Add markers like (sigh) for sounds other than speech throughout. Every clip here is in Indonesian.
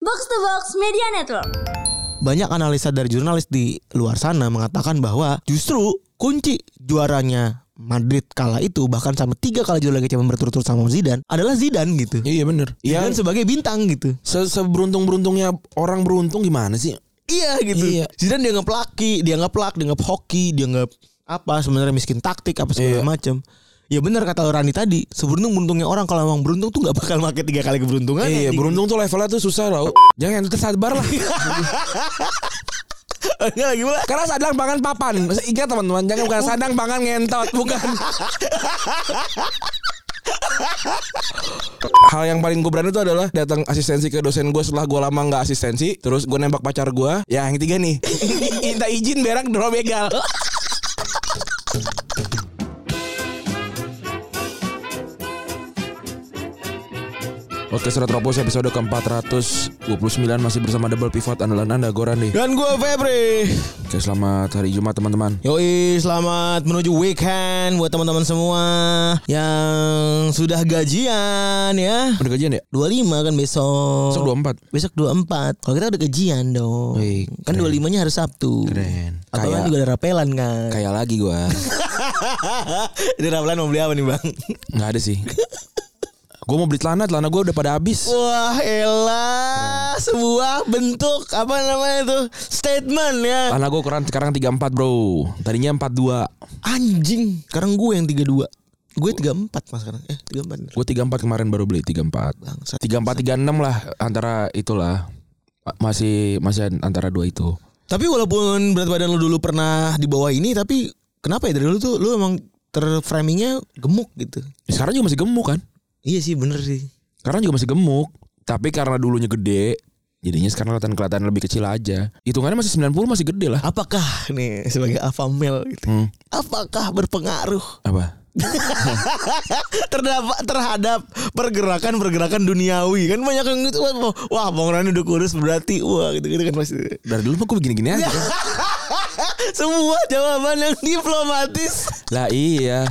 Box to Box Media Network. banyak analisa dari jurnalis di luar sana mengatakan bahwa justru kunci juaranya Madrid kala itu bahkan sampai tiga kali juara Liga Champions berturut-turut sama Zidane adalah Zidane gitu. Iya bener Zidane Yang sebagai bintang gitu. se seberuntung-beruntungnya orang beruntung gimana sih? Iya gitu. Iya. Zidane dianggap laki, dianggap pelak, dianggap hoki, dianggap apa sebenarnya miskin taktik apa segala Iya. macam. Ya benar kata Rani tadi, seberuntung beruntungnya orang kalau emang beruntung tuh nggak bakal pakai tiga kali keberuntungan. Iya, anjing. (laughs) beruntung tuh levelnya tuh susah loh. Jangan tersabar lah. (laughs) Enggak lagi pula. Karena sadang pangan papan. Ingat teman-teman, jangan bukan sadang pangan ngentot, bukan. Hal yang paling gue berani itu adalah datang asistensi ke dosen gue setelah gue lama nggak asistensi, terus gue nembak pacar gue. Ya yang ketiga nih, (laughs) minta izin berak dulu begal. Oke, Surat Ropos episode ke-429 masih bersama Double Pivot andalan Anda, Goran nih. Dan gue Febri. Oke, selamat hari Jumat teman-teman. Yoi, selamat menuju weekend buat teman-teman semua yang sudah gajian ya. Udah gajian ya? Oh. 25 kan besok. Besok 24. Besok 24. Kalau kita udah gajian dong. Wih, kan keren. 25-nya harus Sabtu. Keren. Atau kan Kayak- juga ada rapelan kan. (laughs) Kayak lagi gua. Di rapelan mau beli apa nih, Bang? Nggak ada sih. (laughs) Gua mau beli celana, celana gua udah pada habis. Wah, elah. Sebuah bentuk apa namanya itu? Statement ya. Celana gua kurang sekarang 34, Bro. Tadinya 42. Anjing. Sekarang gue yang 32. Gue 34 mas sekarang. Eh, 34. Gua 34 kemarin baru beli 34. Bangsat. 34 36 lah antara itulah. Ma- Masih masih antara dua itu. Tapi walaupun berat badan lu dulu pernah di bawah ini tapi kenapa ya dari dulu tuh lu emang terframingnya gemuk gitu. Sekarang juga masih gemuk kan? Iya sih bener sih. Sekarang juga masih gemuk, tapi karena dulunya gede, jadinya sekarang kelihatan kelihatan lebih kecil aja. Hitungannya masih 90 masih gede lah. Apakah nih sebagai alpha male gitu. Hmm, Apakah berpengaruh (laughs) apa? terdapat terhadap pergerakan-pergerakan duniawi kan banyak yang gitu wah, wah Bang Rani udah kurus berarti wah gitu-gitu kan pasti. (laughs) Dari dulu mah gue begini-gini aja. kan? Semua jawaban yang diplomatis. (laughs) lah iya.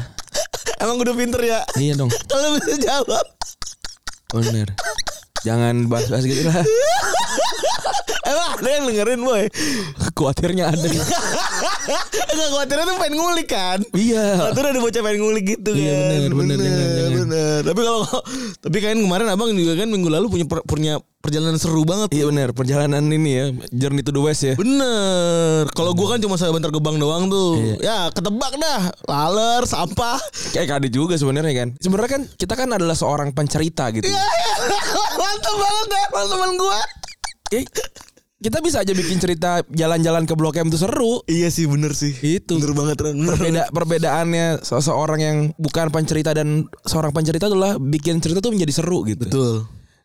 Emang udah pinter ya. Iya dong. Oh, Kalau bisa jawab. Bener. Jangan bahas-bahas gitu lah. Emang ada yang dengerin boy. Khawatirnya ada. Enggak khawatirnya tuh pengen ngulik kan. iya. Satu ada bocah pengen ngulik gitu Iya, kan. bener, bener, jangan, jangan. bener. Tapi kalau tapi kan kemarin Abang juga kan minggu lalu punya per- punya perjalanan seru banget. Iya bener. Perjalanan ini ya. Journey to the West ya. Bener. Kalau gua kan cuma sebentar ke bank doang tuh. Iya. Ya, ketebak dah. Laler, sampah. (laughs) Kayak ada juga sebenarnya kan. Sebenarnya kan kita kan adalah seorang pencerita gitu. Iya. Mantap banget ya teman gua. Oke. Kita bisa aja bikin cerita jalan-jalan ke Blok M itu seru. Iya sih bener sih. Itu. Bener banget Ren. Gitu. Bener. Perbeda perbedaannya seseorang yang bukan pencerita dan seorang pencerita adalah bikin cerita tuh menjadi seru gitu. Betul.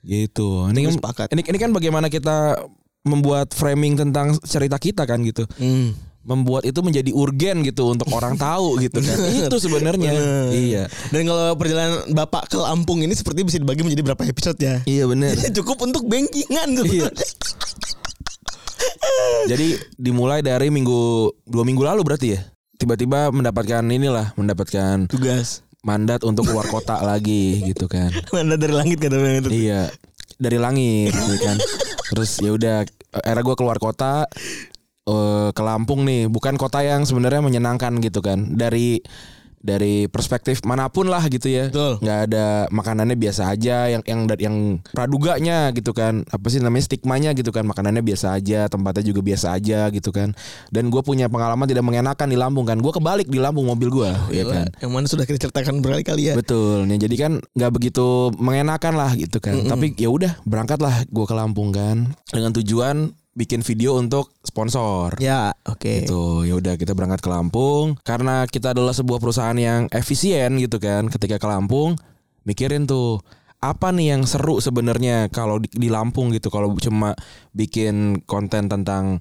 Gitu. Ini kan, sepakat. ini, ini kan bagaimana kita membuat framing tentang cerita kita kan gitu. Hmm. membuat itu menjadi urgen gitu untuk (laughs) orang tahu gitu kan. itu sebenarnya. Bener. Iya. Dan kalau perjalanan Bapak ke Lampung ini seperti bisa dibagi menjadi berapa episode ya? Iya benar. (laughs) Cukup untuk bankingan Iya. sebenarnya. Jadi dimulai dari minggu dua minggu lalu berarti ya. Tiba-tiba mendapatkan inilah, mendapatkan Tugas. mandat untuk keluar kota lagi gitu kan. Mana dari langit kata orang itu. Iya. Dari langit gitu kan. Terus ya udah era gua keluar kota eh, ke Lampung nih, bukan kota yang sebenarnya menyenangkan gitu kan. Dari dari perspektif manapun lah gitu ya. Betul. nggak ada makanannya biasa aja yang yang yang praduganya gitu kan apa sih namanya stigmanya gitu kan makanannya biasa aja tempatnya juga biasa aja gitu kan dan gue punya pengalaman tidak mengenakan di Lampung kan gue kebalik di Lampung mobil gue ya kan Yang mana sudah kita ceritakan berkali-kali ya. betul nih jadi kan nggak begitu mengenakan lah gitu kan tapi ya udah berangkatlah gue ke Lampung kan dengan tujuan bikin video untuk sponsor Ya, oke. Gitu. Ya udah kita berangkat ke Lampung karena kita adalah sebuah perusahaan yang efisien gitu kan. Ketika ke Lampung mikirin tuh apa nih yang seru sebenarnya kalau di, di Lampung gitu kalau cuma bikin konten tentang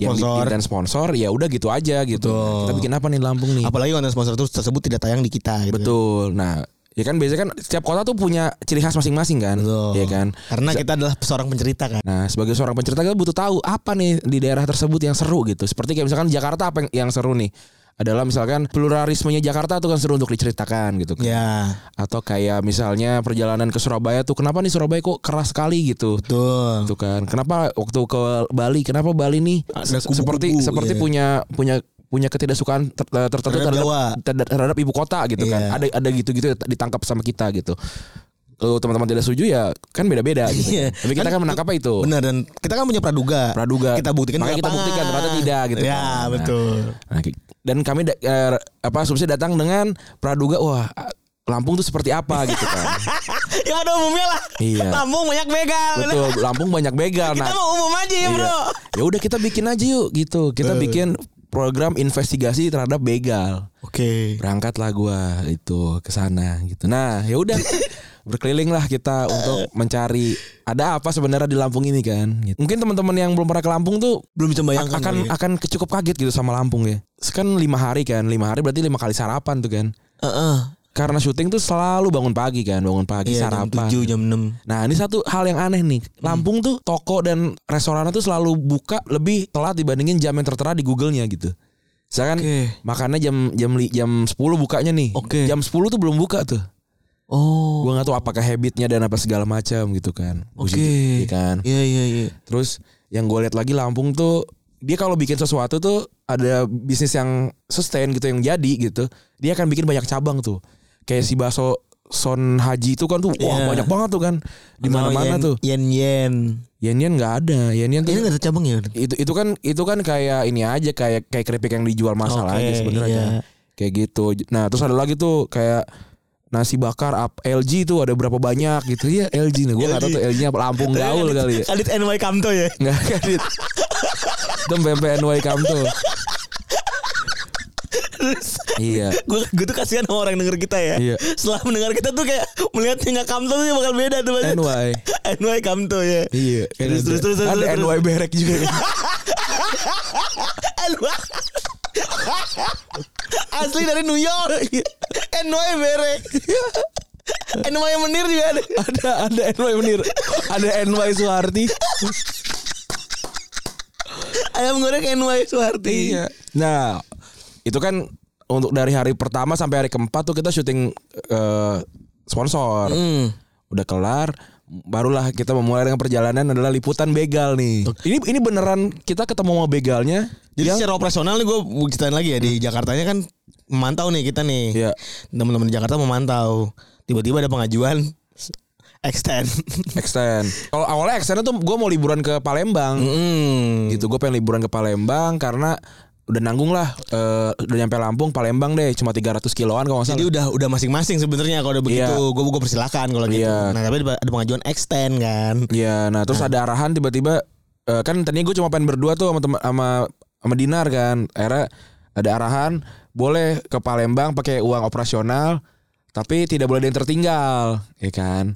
yang di- Sponsor. konten sponsor ya udah gitu aja gitu. Betul. Kita bikin apa nih di Lampung nih? Apalagi konten sponsor terus tersebut tidak tayang di kita gitu. Betul. Nah, ya kan biasanya kan setiap kota tuh punya ciri khas masing-masing kan. Betul. Iya kan? Karena kita adalah seorang pencerita kan. Nah, sebagai seorang pencerita kita butuh tahu apa nih di daerah tersebut yang seru gitu. Seperti kayak misalkan Jakarta apa yang, yang seru nih? adalah misalkan pluralismenya Jakarta tuh kan seru untuk diceritakan gitu kan. Ya, Atau kayak misalnya perjalanan ke Surabaya tuh kenapa nih Surabaya kok keras sekali gitu. betul. Gitu kan. Kenapa waktu ke Bali, kenapa Bali nih Ada se- kubu-kubu, seperti seperti Ah, iya. punya punya punya ketidaksukaan ter- ter- tertentu Terhadap terhadap Jawa. terhadap, terhadap ibu kota gitu kan. Iya. Ada ada gitu-gitu ditangkap sama kita gitu. Kalau teman-teman tidak setuju ya kan beda-beda gitu. Iya. Tapi kita kan menangkap apa itu? Benar dan kita kan punya praduga. Praduga. Kita buktikan di Makanya kita lapangan. buktikan ternyata tidak gitu. Ya, kan. Nah, betul. Nah, ki- dan kami da- eh, apa subsidi datang dengan praduga wah a- Lampung tuh seperti apa gitu (laughs) kan. ya pada umumnya lah. Iya. Lampung banyak begal. Betul, Lampung banyak begal. Kita Nah, mau umum aja ya, Bro. iya. ya udah kita bikin aja yuk gitu. Eh. Kita bikin program investigasi terhadap begal. Oke. Berangkatlah gua itu ke sana gitu. Nah, ya (laughs) udah berkeliling lah kita Eh. untuk mencari ada apa sebenarnya di Lampung ini kan. gitu. Mungkin teman-teman yang belum pernah ke Lampung tuh Belum bisa bayangkan akan kali ya. akan cukup kaget gitu sama Lampung ya. Kan lima hari kan, lima hari berarti lima kali sarapan tuh kan. Heeh. Karena syuting tuh selalu bangun pagi kan, bangun pagi Iya, jam sarapan. 7 jam 6. Nah ini satu hal yang aneh nih Hmm. Lampung tuh toko dan restoran tuh selalu buka lebih telat dibandingin jam yang tertera di Google-nya gitu Misalkan Oke. makannya jam jam li- jam 10 bukanya nih Oke. Jam 10 tuh belum buka tuh Oh. Gua nggak tahu apakah habitnya dan apa segala macam gitu kan Oke. Iya kan Iya, iya, iya. Terus yang gue lihat lagi Lampung tuh dia kalau bikin sesuatu tuh ada bisnis yang sustain gitu yang jadi gitu. Dia akan bikin banyak cabang tuh. Kayak si bakso Son Haji itu kan tuh wah Iya. banyak banget tuh kan di mana-mana tuh. Yen-yen. Yenian nggak ada. Yenian Ini tuh enggak ada cabang ya? itu itu kan itu kan kayak ini aja kayak kayak keripik yang dijual masal Oke, aja sebenarnya. iya. Kayak gitu. Nah, terus ada lagi tuh kayak nasi bakar up LG tuh ada berapa banyak gitu ya LG nih gue nggak tahu tuh LG nya Lampung Gaul (laughs) kali ya Adit NY Kamto ya. (laughs) Nggak kredit. Itu PPNY Kamto. iya. Gue gue tuh kasihan sama orang yang denger kita ya. Iya. Setelah mendengar kita tuh kayak melihatnya nggak Kamto tuh bakal beda tuh pasti. NY. NY Kamto ya. Iya. Terus, terus, terus, Ada terus, terus. NY Berek juga. NY. Asli dari New York. Iya. NY bere. NY Menir juga ada. ada ada NY Menir. Ada NY Suharti. Ayam goreng NY Suharti. Nah, itu kan untuk dari hari pertama sampai hari keempat tuh kita syuting eh, sponsor. Hmm. udah kelar barulah kita memulai dengan perjalanan adalah liputan begal nih. Ini ini beneran kita ketemu sama begalnya. Jadi yang- secara operasional nih gue ceritain lagi ya di Jakartanya kan memantau nih kita nih. Iya. Teman-teman di Jakarta memantau. Tiba-tiba ada pengajuan extend. (laughs) extend. Kalau awalnya extendnya tuh gue mau liburan ke Palembang Hmm. gitu. Gue pengen liburan ke Palembang karena udah nanggung lah eh, udah nyampe Lampung Palembang deh cuma 300 kiloan kalau nggak Jadi salah. udah udah masing-masing sebenarnya kalau udah begitu Iya. gue gue persilakan kalau gitu. Iya. Nah tapi ada ada pengajuan extend kan. Iya, nah terus ada arahan tiba-tiba eh, kan tadinya gue cuma pengen berdua tuh sama teman- sama sama Dinar kan. Akhirnya ada arahan boleh ke Palembang pakai uang operasional tapi tidak boleh ada yang tertinggal, ya kan?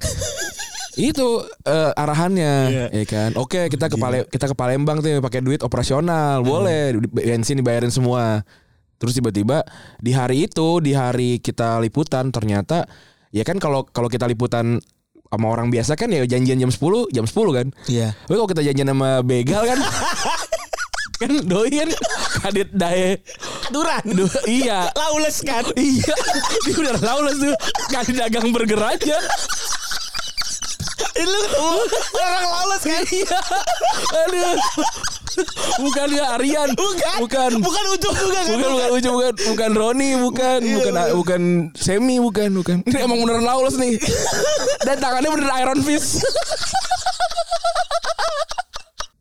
Itu eh, arahannya, Iya. ya kan? Oke, kita ke Pale- kita ke Palembang tuh ya, pakai duit operasional, Iya. boleh Di- bensin dibayarin semua. Terus tiba-tiba di hari itu, di hari kita liputan ternyata ya kan kalau kalau kita liputan sama orang biasa kan ya janjian jam 10, jam 10 kan. Iya. Tapi kalau kita janjian sama begal (laughs) kan kan doi kan kadit dae Aturan. Du- iya Laules (laughs) kan. iya dia udah lawless tuh kadit dagang burger aja Lu ketemu orang laules kan. iya aduh bukan dia Aryan Bukan. bukan bukan Bukan ujung juga kan. bukan bukan bukan, bukan, bukan Roni bukan bukan bukan Semi bukan bukan ini emang beneran lawless nih dan tangannya beneran Iron Fist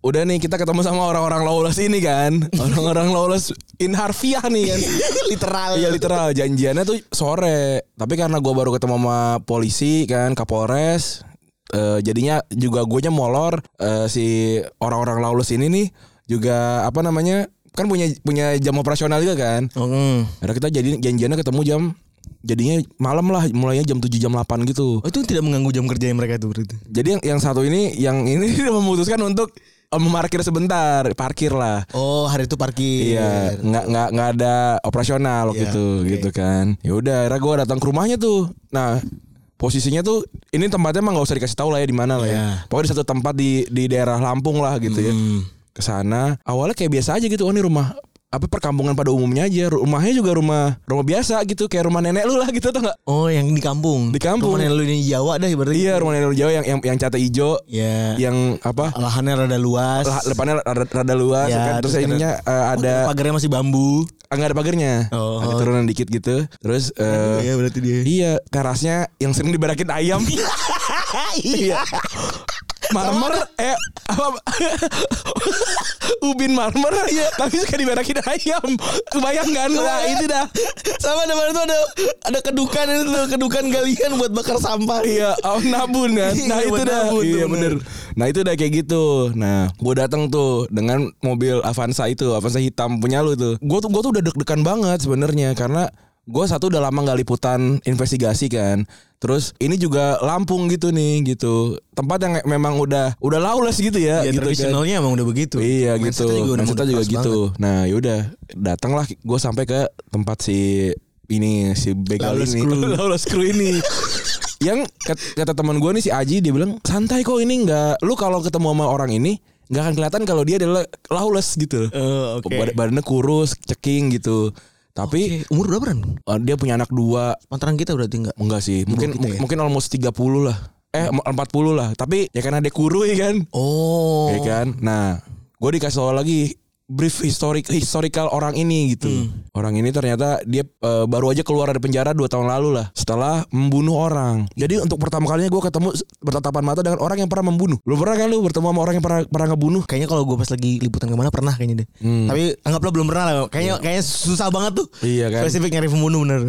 Udah nih kita ketemu sama orang-orang lawless ini kan Orang-orang lawless in harfiah nih kan (laughs) Literal. Iya literal janjiannya tuh sore. Tapi karena gua baru ketemu sama polisi kan Kapolres, eh, jadinya juga guanya molor eh, si orang-orang lawless ini nih juga apa namanya kan punya punya jam operasional juga kan. Mm. Karena kita jadi janjiannya ketemu jam jadinya malam lah mulainya jam 7 jam 8 gitu. Oh, itu tidak mengganggu jam kerja mereka tuh berarti. Jadi yang, yang satu ini yang ini (laughs) memutuskan untuk eh, memarkir sebentar, parkir lah. Oh, hari itu parkir. Iya, nggak nggak nggak ada operasional waktu Gitu. Iya, itu, gitu kan. Ya udah, akhirnya gue datang ke rumahnya tuh. Nah, posisinya tuh ini tempatnya emang nggak usah dikasih tahu lah ya di mana lah Iya. Hmm. ya. Pokoknya di satu tempat di di daerah Lampung lah gitu ya. Ke sana awalnya kayak biasa aja gitu, oh ini rumah apa perkampungan pada umumnya aja rumahnya juga rumah rumah biasa gitu kayak rumah nenek lu lah gitu tau nggak Oh, yang di kampung. Di kampung. Rumah nenek lu di Jawa dah berarti. iya rumah nenek lu jawa yang yang, yang cat hijau Ya. yang apa Lahannya rada luas. Iya. lah, depannya rada, rada luas Iya, kan? terus terus ada- Oh, ininya eh, ada pagarnya masih bambu. ah, nggak ada pagarnya Oh. ada turunan dikit gitu terus eh, Iya, berarti dia. (laughs) iya terasnya yang sering diberakin ayam iya. marmer eh apa (laughs) ubin marmer ya tapi suka diberakin ayam kebayang kan nah itu dah Sama depan itu ada ada kedukan itu kedukan galian buat bakar sampah. iya oh, nabun kan nah Iya, itu buat dah nabun tuh, iya bener. bener nah itu dah kayak gitu nah gue datang tuh dengan mobil Avanza itu Avanza hitam punya lu tuh gue tuh gue tuh udah deg-degan banget sebenarnya karena gue satu udah lama nggak liputan investigasi kan terus ini juga Lampung gitu nih gitu tempat yang memang udah udah lawless gitu ya, Ya, gitu kan. tradisionalnya emang udah begitu. Iya gitu. Mindsetnya udah Mindsetnya mau juga keras gitu. Nah yaudah datanglah gue sampai ke tempat si ini si begal Lawless ini. (laughs) crew. Lawless crew ini. Yang kat- kata teman gue nih si Aji dia bilang santai kok ini nggak. Lu kalau ketemu sama orang ini nggak akan kelihatan kalau dia adalah lawless gitu. banget. Eh, oke. Bad- Badannya kurus, ceking gitu. Tapi Oke, Umur berapa kan? eh, dia punya anak dua Pantaran kita udah tinggal. Enggak sih, mungkin kita ya? Hmm. mungkin almost 30 lah. Eh 40 lah, tapi ya karena dia kurui kan. Oh. Ya kan? Nah, gue dikasih tahu lagi brief historik historical orang ini gitu. Hmm. Orang ini ternyata dia eh, baru aja keluar dari penjara dua tahun lalu lah setelah membunuh orang. Jadi untuk pertama kalinya gue ketemu s- bertatapan mata dengan orang yang pernah membunuh. Lu pernah kan lu bertemu sama orang yang pernah pernah ngebunuh? Kayaknya kalau gue pas lagi liputan kemana pernah kayaknya deh. Tapi anggaplah belum pernah lah. Kayaknya kayaknya susah banget tuh. Hmm. Iya kan? Spesifik nyari pembunuh bener.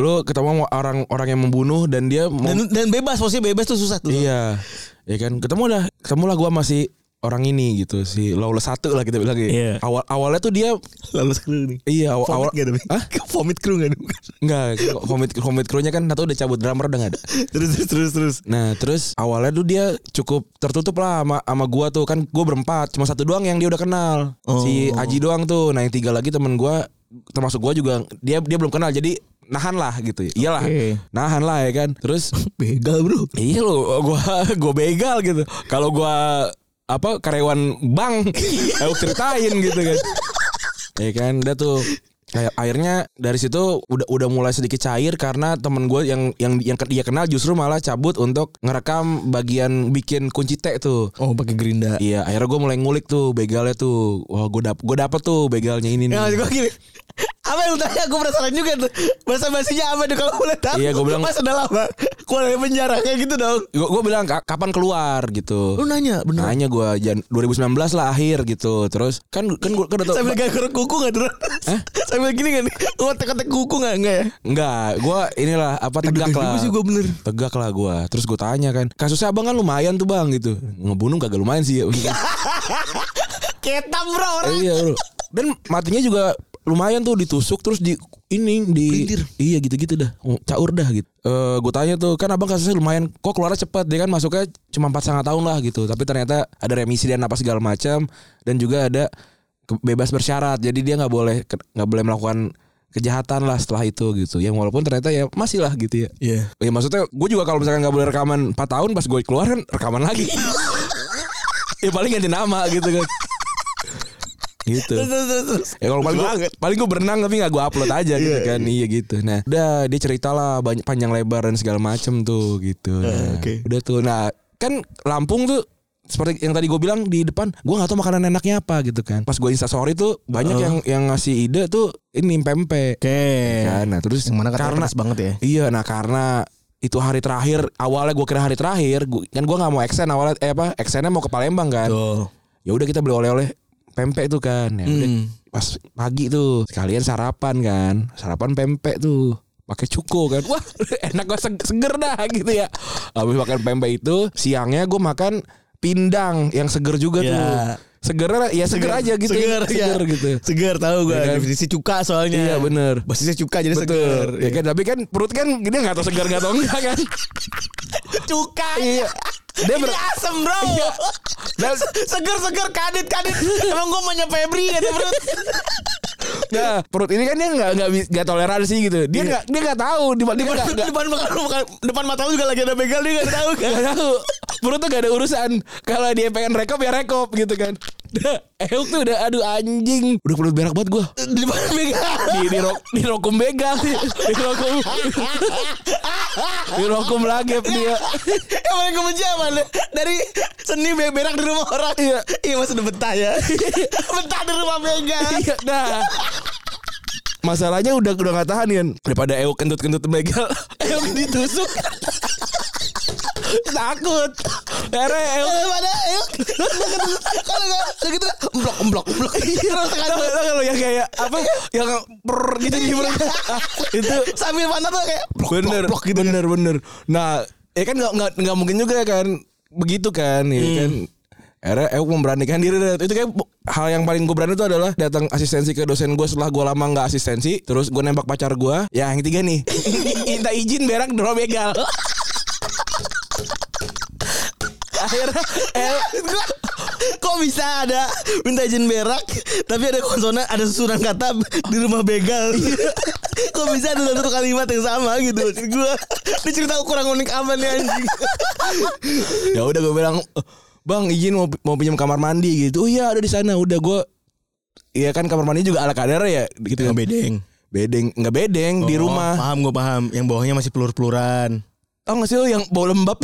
Lu ketemu sama orang orang yang membunuh dan dia mau Dan dan bebas posisinya bebas tuh susah tuh. (laughs) Iya. Ya kan ketemu lah, ketemu lah gue masih orang ini gitu si lawless satu lah kita bilang ya. Iya. Awal awalnya tuh dia Lalu kru nih. iya awal, awal Vomit gak tapi? Hah? (laughs) Vomit kru gak ada? Enggak, komit komit krunya kan atau udah cabut drummer udah enggak ada. terus terus terus terus. Nah, terus awalnya tuh dia cukup tertutup lah sama sama gua tuh. Kan gua berempat, cuma satu doang yang dia udah kenal. Si Aji doang tuh. Nah, yang tiga lagi temen gua termasuk gua juga dia dia belum kenal. Jadi nahan lah gitu. Iyalah. Oke. Nahan lah ya kan. Terus Begal bro. Iya lo, gua (laughs) gua begal gitu. Kalau gua apa karyawan (laughs) bank, aku ceritain gitu kan. Ya kan, udah tuh kayak akhirnya dari situ udah udah mulai sedikit cair karena temen gue yang yang yang ke- dia kenal justru malah cabut untuk ngerekam bagian bikin kunci T tuh. Oh pakai gerinda. Iya, akhirnya gue mulai ngulik tuh begalnya tuh. Wah, gue dap gue dapet tuh begalnya ini. nih. Ya maksud gue gini. (laughs) Apa yang lu tanya aku penasaran juga tuh. Bahasa basinya apa tuh kalau boleh tahu? Iya, gua bilang- Mas udah lama keluar dari penjara kayak gitu dong. Gue gue bilang "Ka- kapan keluar gitu. Lu nanya bener. Nanya gue jan- 2019 lah akhir gitu. Terus kan kan gue kan udah tau- Sambil gak keruk kuku gak terus? Sambil gini gak nih? Gue teka-teka kuku gak? Enggak ya? Enggak, gua inilah apa tegak lah. Deg-degan juga sih gua bener. Tegak lah gua. Terus gua tanya kan, kasusnya Abang kan lumayan tuh Bang gitu. Ngebunuh kagak lumayan (laughs) sih. ya. Ketam bro orang. iya, bro. Dan matinya juga lumayan tuh ditusuk terus di ini di Pelintir. iya gitu-gitu dah. Oh, Caur dah gitu. Eh gua tanya tuh, kan Abang kasusnya lumayan kok keluarnya cepet dia kan masuknya cuma 4 setengah tahun lah gitu. Tapi ternyata ada remisi dan apa segala macam dan juga ada ke- bebas bersyarat. Jadi dia nggak boleh ke- nggak boleh melakukan kejahatan lah setelah itu gitu. Yang walaupun ternyata ya masih lah gitu ya. Iya. Ya maksudnya gue juga kalau misalkan nggak boleh rekaman 4 tahun pas gue keluar kan rekaman lagi. ya paling ganti nama gitu kan. gitu. Terus terus terus, terus. Ya kalau paling gua, paling gue berenang tapi nggak gue upload aja gitu kan. Iya gitu. Nah, udah dia ceritalah banyak panjang lebar dan segala macem tuh gitu. Nah, Ah, oke. Udah tuh. Nah, kan Lampung tuh seperti yang tadi gue bilang di depan gue nggak tahu makanan enaknya apa gitu kan pas gue instastory tuh banyak yang yang ngasih ide tuh ini Ah. pempek Oke. kan nah terus Yang mana katanya karena pedas banget ya? Iya, nah karena itu hari terakhir awalnya gue kira hari terakhir gua, kan gue nggak mau eksen awalnya eh apa eksennya mau ke Palembang kan Tuh. ya udah kita beli oleh-oleh pempek tuh kan ya udah. Hmm. pas pagi tuh sekalian sarapan kan sarapan pempek tuh pakai cuko kan wah (laughs) enak gue seger dah gitu ya habis makan pempek itu siangnya gue makan pindang yang seger Ya. juga tuh seger ya seger, aja gitu Seger, seger ya. gitu Seger tahu gue Iya kan? definisi cuka soalnya. Iya, bener. Basisnya cuka jadi seger. Betul. Ya kan, tapi kan perut kan dia nggak tahu segar nggak tahu enggak kan. Cuka. Iya. Dia ber- Ini asem bro. Iya. Dan- seger seger kadit kadit. Emang gue maunya Febri kata bro. Nah, perut ini kan dia nggak nggak bis- nggak toleransi gitu. Dia nggak dia nggak tahu di di mana depan, depan, depan, depan mata lu juga lagi ada begal dia gak tahu kan. nggak tahu. Perut tuh gak ada urusan. Kalau dia pengen rekop ya rekop gitu kan. (laughs) udah Euk tuh udah aduh anjing udah perut berak banget gue Di mana Mega? di di, ro, di rokum begal di rokum di rokum lagep dia (laughs) Yang paling gue benci apa? Dari seni be- berak di rumah orang Iya Iya mas udah betah (laughs) ya Betah di rumah Mega Iya, dah masalahnya udah udah gak tahan Yan daripada Euk kentut kentut begal (laughs) Euk ditusuk (laughs) takut Ere Euk Daripada ayo Kalau gak Segitu Emblok emblok emblok Terus Tau kan gak kalau yang kayak apa yang per gitu di perut. itu Sambil mana tuh kayak bener bener bener nah ya kan nggak nggak nggak mungkin juga kan begitu kan ya kan akhirnya aku memberanikan diri dan itu kayak bu- hal yang paling gue berani itu adalah datang asistensi ke dosen gue setelah gue lama nggak asistensi terus gue nembak pacar gue ya yang ketiga nih minta izin berak doro begal akhirnya eh, Gua- Kok bisa ada minta izin berak Tapi ada konsonan Ada susunan kata Di rumah begal Kok bisa ada satu kalimat yang sama gitu Maksud Gue Ini cerita kurang unik aman nih anjing ya udah gue bilang bang izin mau mau pinjam kamar mandi gitu oh iya ada di sana udah gue Iya kan kamar mandi juga ala kadar ya gitu kan. bedeng nggak bedeng di rumah Oh, Paham gue paham Yang bawahnya masih pelur-peluran tau gak sih lo yang bau lembab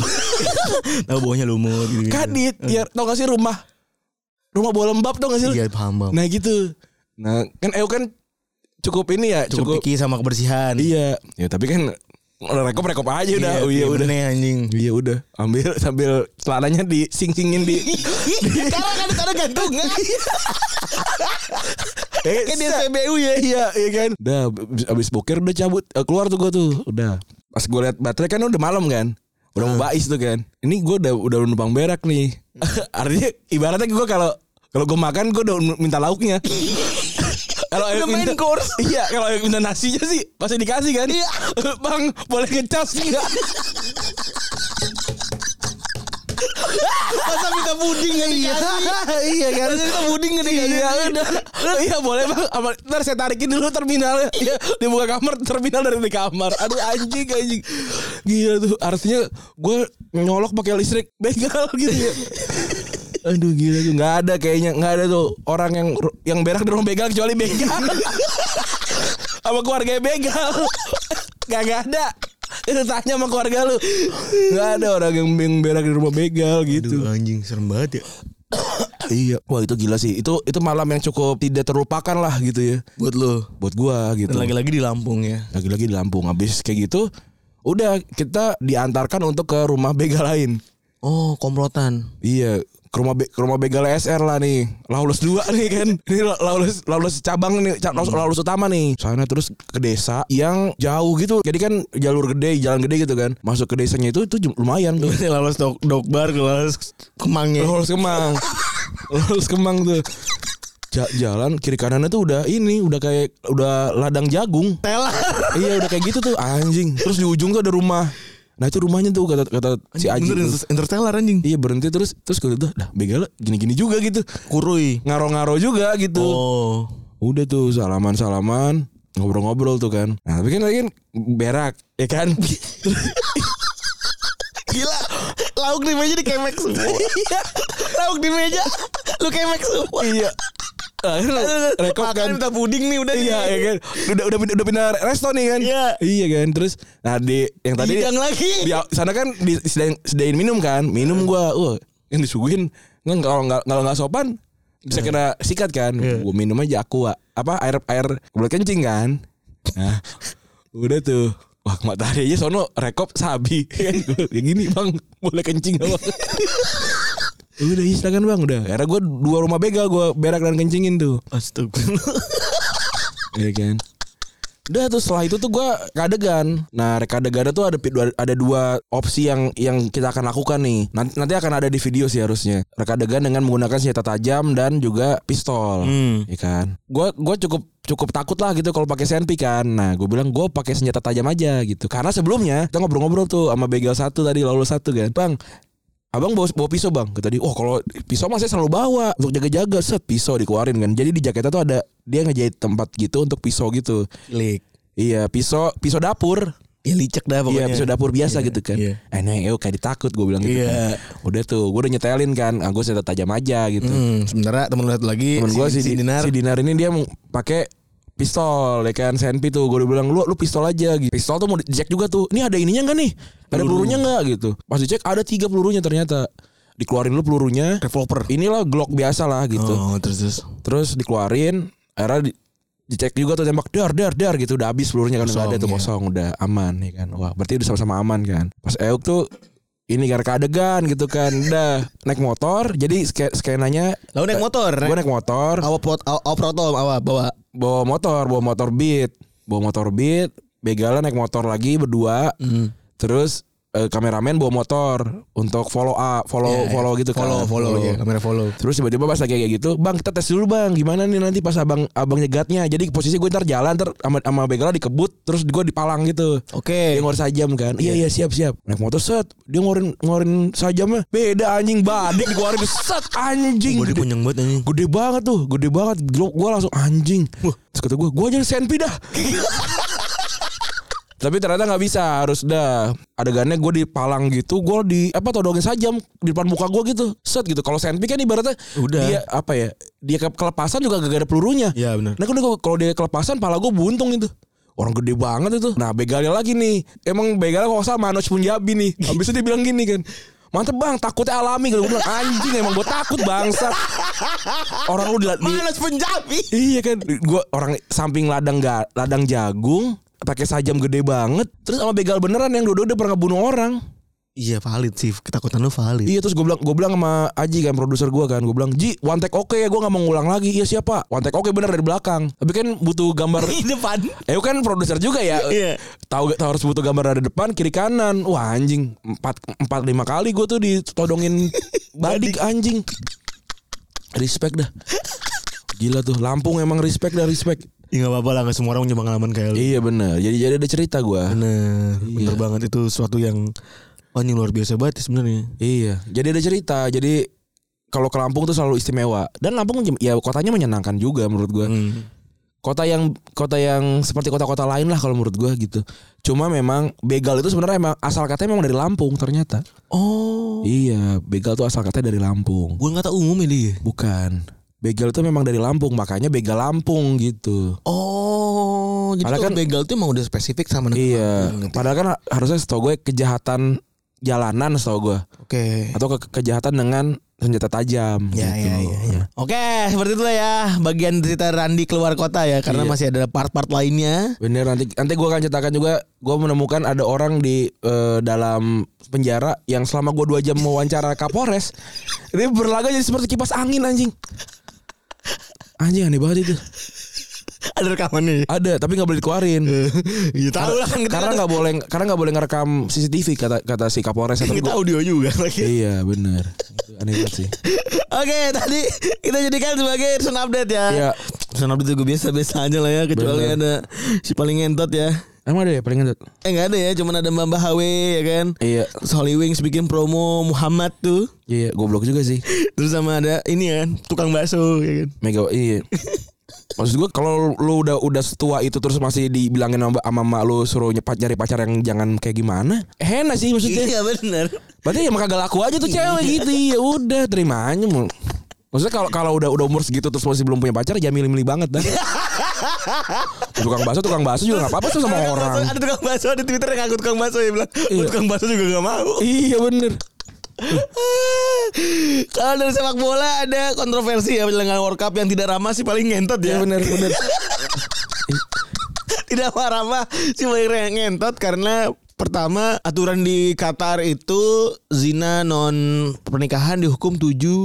Tahu bawahnya lumut gitu. (laughs) kadit ya tau gak sih rumah rumah bau lembab tau gak sih lo? Iya paham bang. nah gitu nah kan Eo kan cukup ini ya cukup, cukup, picky sama kebersihan. iya ya tapi kan rekop rekop aja udah oh, iya udah bener, anjing. iya udah ambil sambil celananya dising-singin (laughs) di Karena kan ada gantungan. Eh, Kayak di set. SPBU ya. iya iya kan udah abis, abis boker udah cabut Eh, keluar tuh gue tuh udah pas gue liat baterai kan udah malam kan udah mau Ah. bais tuh kan ini gue udah udah numpang berak nih (laughs) artinya ibaratnya gue kalau kalau gue makan gue udah minta (laughs) lauknya kalau Udah yang main minta course. (laughs) iya kalau yang minta nasinya sih pasti dikasih kan iya (laughs) bang boleh ngecas nggak (laughs) (laughs) Masa minta puding kan iya. (laughs) iya kan. Masa minta puding kan dikasih. Iya udah. (laughs) Iya boleh bang. Apa, ntar saya tarikin dulu terminalnya. (laughs) Iya dibuka kamar terminal dari di kamar. Aduh anjing anjing. Gila tuh. Artinya gue nyolok pakai listrik begal (laughs) gitu ya. Aduh gila tuh nggak ada kayaknya nggak ada tuh orang yang yang berak di rumah begal kecuali begal (laughs) sama keluarga begal (laughs) nggak nggak ada itu tanya sama keluarga lu nggak ada orang yang yang berak di rumah begal gitu Aduh anjing serem banget ya. Iya, wah itu gila sih. Itu itu malam yang cukup tidak terlupakan lah gitu ya. Buat lo. Buat gua gitu. Dan lagi-lagi di Lampung ya. Lagi-lagi di Lampung habis kayak gitu, udah kita diantarkan untuk ke rumah begal lain. Oh komplotan. Iya, ke rumah be- ke rumah begal SR lah nih. Laulus dua nih kan. (laughs) Ini la- laulus laulus cabang nih, ca- laulus, laulus utama nih. Sana terus ke desa yang jauh gitu. Jadi kan jalur gede, jalan gede gitu kan. Masuk ke desanya itu itu jum- lumayan tuh. Ini lolos dok dokbar, lolos kemangnya. Lulus Kemang. Lulus Kemang tuh. Ja- jalan kiri kanannya tuh udah ini udah kayak udah ladang jagung. Telar. iya udah kayak gitu tuh anjing. Terus di ujung tuh ada rumah. Nah itu rumahnya tuh kata kata si Aji. Bener tuh. inter- interstellar anjing. Iya berhenti terus terus gue tuh dah begal gini-gini juga gitu. Kurui. Ngaro-ngaro juga gitu. Oh. Udah tuh salaman-salaman ngobrol-ngobrol tuh kan. Nah tapi kan lagi kan berak ya (laughs) kan. Gila Lauk di meja dikemek semua Lauk di meja Lu kemek semua iya. Akhirnya rekop Makan kan. minta puding nih udah Iya, nih. ya kan. Udah udah pindah, udah pindah resto nih kan. Iya. Iya kan. Terus nah di yang tadi Dihidang lagi. Di sana kan di disediain, disediain minum kan. Minum Iya. gua. Wah, yang disuguhin kan kalau nggak kalau nggak sopan Iya. bisa kena sikat kan. Gua minum aja aqua. Apa air air kebelet kencing kan. Nah, udah tuh. Wah, matahari aja sono rekop sabi. (laughs) Yang gini, Bang. Boleh kencing (laughs) nggak, Bang? udah iya, silakan bang udah karena gue dua rumah begal gue berak dan kencingin tuh Astagfirullah Iya kan. Udah terus setelah itu tuh gue kadegan. Nah rekadegannya tuh ada pi- dua- ada dua opsi yang yang kita akan lakukan nih. Nanti, nanti akan ada di video sih harusnya. Rekadegan dengan menggunakan senjata tajam dan juga pistol. Hmm. Iya kan. Gue gua cukup cukup takut lah gitu kalau pakai senpi kan. Nah gue bilang gue pakai senjata tajam aja gitu. Karena sebelumnya kita ngobrol-ngobrol tuh sama begal satu tadi lalu satu kan. Bang Abang bawa, bawa pisau bang Kata dia Oh kalau pisau mah saya selalu bawa Untuk jaga-jaga Set pisau dikeluarin kan Jadi di jaketnya tuh ada Dia ngejahit tempat gitu Untuk pisau gitu Klik Iya pisau Pisau dapur ya licek dah pokoknya. Iya, bisa dapur biasa gitu kan. iya. Eh, nih, eh, kayak ditakut gue bilang gitu. Iya. Kan. Udah tuh, gue udah nyetelin kan. Ah, gue senjata tajam aja gitu. Hmm, sementara temen lu satu lagi Temen gue si, si Dinar. si Dinar ini dia mau pakai pistol ya kan senpi tuh gue udah bilang lu lu pistol aja gitu pistol tuh mau dicek juga tuh ini ada ininya nggak nih ada pelurunya nggak gitu pas dicek ada tiga pelurunya ternyata dikeluarin lu pelurunya revolver. inilah glock biasa lah gitu Oh, terus terus. Iya, terus dikeluarin akhirnya di- dicek juga tuh tembak dar dar dar gitu udah habis pelurunya kan udah Kosong, ada tuh iya. kosong udah aman ya kan wah berarti udah sama-sama aman kan pas Euk tuh ini gara adegan gitu kan udah naik motor jadi ske- skenanya Lalu naik motor. gue naik motor Awal pot awa- awal proto awal bawa. bawa motor, bawa motor beat, bawa motor beat, begalan naik motor lagi berdua, terus eh, kameramen bawa motor untuk follow up, follow Iya, follow iya. gitu kan. Follow follow ya, kamera follow. Terus tiba-tiba pas lagi kayak gitu, bang kita tes dulu bang, gimana nih nanti pas abang abang nyegatnya. Jadi posisi gue ntar jalan, ntar sama sama begalan dikebut, terus gue dipalang gitu. Dia Oke. ngorin sajam kan Iya iya siap siap Naik motor set Dia ngorin ngorin sajamnya Beda anjing Badik dikeluarin Set anjing Bodi kunyeng banget anjing. gede banget tuh gede banget Gila, gue langsung anjing Wah, terus kata gue gue aja senpi dah tapi ternyata nggak bisa harus dah adegannya gue dipalang gitu gue di apa todongin sajam di depan muka gue gitu set gitu kalau senpi kan ibaratnya Udah. dia apa ya dia ke- kelepasan juga gak ada pelurunya Iya, benar. nah kalau kalau dia kelepasan pala gue buntung itu Orang gede banget itu. Nah begalnya lagi nih. Emang begalnya kalau nggak salah Manoj Punjabi nih. Habis itu dia bilang gini kan. Mantep bang takutnya alami. Gue bilang anjing emang gue takut bangsat. Orang lu di, di- Malas Punjabi. Iya kan, gua orang samping ladang ga, ladang jagung pakai sajam gede banget, terus sama begal beneran yang dua-dua udah pernah bunuh orang. Iya valid sih, ketakutan lu valid. Iya terus gue bilang gue bilang sama Aji kan produser gue kan gue bilang Ji one take oke ya gue nggak mau ngulang lagi iya siapa one take oke bener dari belakang tapi kan butuh gambar Di depan. Eh lu kan produser juga ya Iya. tahu tahu harus butuh gambar dari depan kiri kanan wah anjing empat empat lima kali gue tuh ditodongin badik anjing respect dah gila tuh Lampung emang respect dah respect Ya enggak apa-apa lah, nggak semua orang punya pengalaman kayak lu. Iya bener Jadi jadi ada cerita gua Bener, Iya. bener banget itu sesuatu yang oh, ini luar biasa banget ya sebenarnya. Iya. Jadi ada cerita. Jadi kalau ke Lampung tuh selalu istimewa. Dan Lampung ya kotanya menyenangkan juga menurut gua Hmm. Kota yang kota yang seperti kota-kota lain lah kalau menurut gua gitu. Cuma memang begal itu sebenarnya emang asal katanya memang dari Lampung ternyata. Oh, Iya, begal tuh asal katanya dari Lampung. gue nggak tahu umum ini. Bukan. Begal itu memang dari Lampung, makanya begal Lampung gitu. Oh, jadi Padahal kalau kan- begal tuh emang udah spesifik sama negara. Iya, Hmm, ngerti. padahal kan harusnya setahu gue kejahatan jalanan setahu gue. Oke. atau ke- kejahatan dengan senjata tajam Iya. Ya, gitu. ya, ya, ya. Oke, seperti itulah ya bagian cerita Randi keluar kota ya karena Iya. masih ada part-part lainnya. (laughs) Bener nanti nanti gue akan ceritakan juga gue menemukan ada orang di eh, dalam penjara yang selama gue dua jam mewawancara (laughs) Kapolres dia berlaga jadi seperti kipas angin anjing anjing aneh banget itu Ada (laughs) rekamannya. ada tapi nggak boleh dikeluarin Iya tahu lah kan kita karena nggak boleh karena nggak boleh ngerekam CCTV kata kata si Kapolres atau kita audio juga (laughs) lagi. iya bener Itu aneh banget (laughs) sih Oke, tadi kita jadikan sebagai Sun Update ya. Iya. Sun Update juga biasa-biasa aja lah ya kecuali Bener. ada si paling entot ya. emang ada ya paling ngentot? Eh enggak ada ya, cuman ada Mbak Mbak HW ya kan. iya Terus Holy Wings bikin promo Muhammad tuh. (laughs) iya goblok juga sih Terus sama ada ini kan, tukang bakso ya kan. Mega iya. Maksud gue kalau lu udah udah setua itu terus masih dibilangin sama sama emak lu suruh nyepat nyari pacar yang jangan kayak gimana? Eh, Enak sih maksudnya. Iya benar. Berarti ya emang kagak laku aja tuh cewek gitu. Ya udah terima aja mau. Maksudnya kalau kalau udah udah umur segitu terus masih belum punya pacar jangan milih-milih banget (laughs) dah. tukang bakso tukang bakso juga Iya, nggak apa-apa tuh sama Ada orang. tukang bakso- Ada tukang bakso di Twitter yang ngaku tukang bakso ya bilang, "Oh, Iya. tukang bakso juga gak mau. Iya bener. (laughs) Kalau dari sepak bola ada kontroversi ya penyelenggaraan World Cup yang tidak ramah sih paling ngentot ya. Iya bener bener. (laughs) tidak ramah sih paling re- ngentot karena pertama aturan di Qatar itu zina non pernikahan dihukum 7 tahun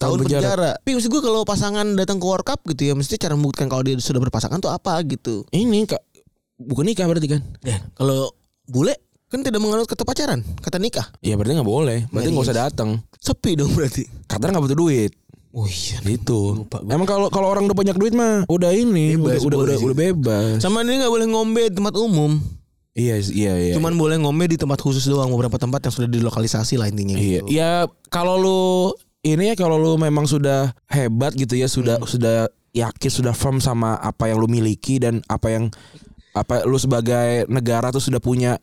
Tahun penjara. penjara. Tapi maksud gue kalau pasangan datang ke World Cup gitu ya, mesti cara membuktikan kalau dia sudah berpasangan tuh apa gitu. (laughs) Ini kak bukan nikah berarti kan? Ya, kalau bule kan tidak menganut kata pacaran, kata nikah. Iya berarti nggak boleh. Berarti nggak usah datang. Sepi dong berarti. Qatar nggak butuh duit. Oh iya. Gitu. Emang kalau kalau orang udah banyak duit mah udah ini Bebas, udah udah boleh udah, sih. udah bebas. Sama ini nggak boleh ngombe di tempat umum. Iya iya iya. Cuman boleh ngombe di tempat khusus doang beberapa tempat yang sudah dilokalisasi lah intinya. iya. gitu. Ya kalau lu ini ya kalau lu memang sudah Hmm. hebat gitu ya sudah sudah yakin sudah firm sama apa yang lu miliki dan apa yang apa lu sebagai negara tuh sudah punya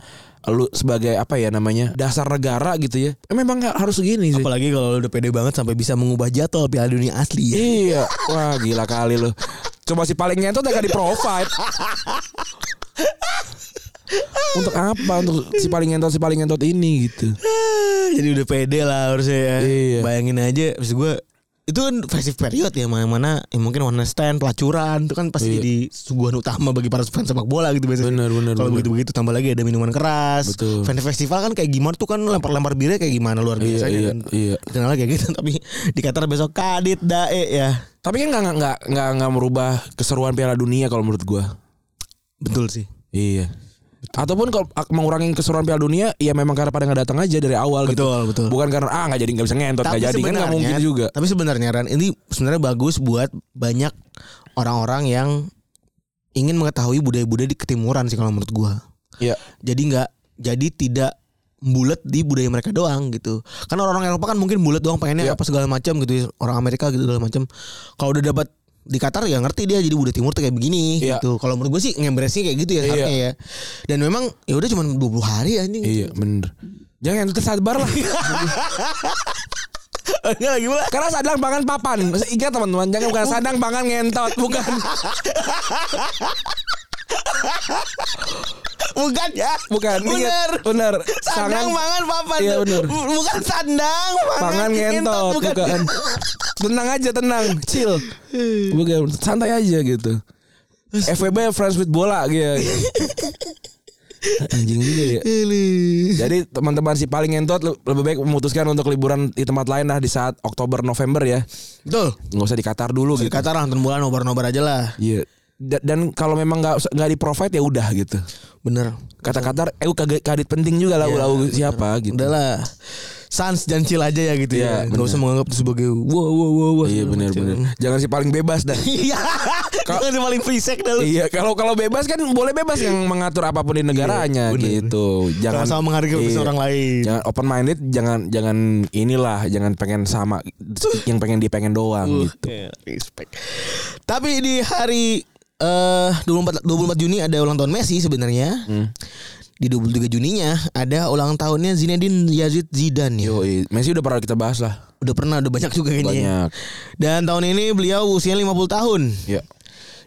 lu sebagai apa ya namanya dasar negara gitu ya Eh, memang nggak harus gini sih Apalagi kalau lu udah pede banget sampai bisa mengubah jadwal Piala Dunia asli ya. iya wah gila kali lu coba si paling ngentot agak di provide untuk apa untuk si paling ngentot si paling ngentot ini gitu (laughs) Jadi udah pede lah harusnya ya. Iya. Bayangin aja maksud gue itu kan festive period ya mana mana ya mungkin one night stand pelacuran itu kan pasti Iya. jadi suguhan utama bagi para fans sepak bola gitu biasanya. Bener, bener, Kalau bener. begitu begitu tambah lagi ada minuman keras. Betul. Fan festival kan kayak gimana tuh kan lempar-lempar birnya kayak gimana luar Iya, biasa iya, kan. iya. Kenal kayak gitu (laughs) tapi di Qatar besok kadit dae ya. tapi kan nggak nggak- nggak nggak nggak merubah keseruan Piala Dunia kalau menurut gua Betul sih. Iya. Ataupun kalau ak- mengurangi keseruan Piala Dunia, ya memang karena pada nggak datang aja dari awal gitu. Betul, betul. Bukan karena ah nggak jadi nggak bisa ngentot nggak jadi kan nggak sebenarnya- mungkin juga. Tapi sebenarnya Ran ini sebenarnya bagus buat banyak orang-orang yang ingin mengetahui budaya-budaya di ketimuran sih kalau menurut gua. Iya. Jadi nggak jadi tidak bulat di budaya mereka doang gitu. Kan orang-orang Eropa kan mungkin bulat doang pengennya Iya. apa segala macam gitu. Orang Amerika gitu segala macam. Kalau udah dapat di Qatar ya ngerti dia jadi budaya timur tuh kayak begini Iya. gitu. Kalau menurut gue sih ngemberesnya kayak gitu ya Iya. harusnya ya. Dan memang ya udah cuma 20 hari ya, anjing. (laughs) Iya bener. Jangan ngentot sabar (laughs) lah. Enggak lagi pula. karena sadang pangan papan. Ingat teman-teman, jangan bukan sadang pangan ngentot, bukan. Bukan ya. Bukan. Bener. Ingat, bener. Sandang Sangan- mangan papan Iya, tuh. bener. Bu- Bukan sandang mangan, Pangan ngentot, bukan. tenang aja, tenang, chill. Bukan, santai aja gitu. FWB friends with bola gitu. Anjing juga ya. Ini. Jadi teman-teman si paling ngentot le- lebih baik memutuskan untuk liburan di tempat lain lah di saat Oktober November ya. Betul. Nggak usah di Qatar dulu gitu. Kata orang bulan nobar-nobar aja lah. Iya. Da- Dan kalau memang nggak usah- nggak di provide ya udah gitu. Bener. Kata Qatar, eh kagak kadit penting juga Iya, lah lau siapa gitu. Udahlah. Sans dan chill aja ya gitu ya. Iya, bener. Gak usah menganggap itu sebagai wow wow wow. wow segala Iya macam. benar-benar. Jangan si paling bebas dah. (laughs) Iya. Kau yang paling frisek dah lu. Iya, kalau kalau bebas kan boleh bebas yang mengatur apapun di negaranya bener. gitu. Jangan Sama Iya, menghargai keputusan orang lain. Iya. Jangan open minded, jangan jangan inilah, jangan pengen sama yang pengen dia pengen doang gitu. Iya, respect. Tapi di hari eh 24 24 Juni ada ulang tahun Messi sebenarnya. Di 23 Juninya ada ulang tahunnya Zinedine Yazid Zidane ya. Yo, Iya, Messi udah pernah kita bahas lah. Udah pernah udah banyak juga ini. Banyak. Dan tahun ini beliau usia 50 tahun. Ya.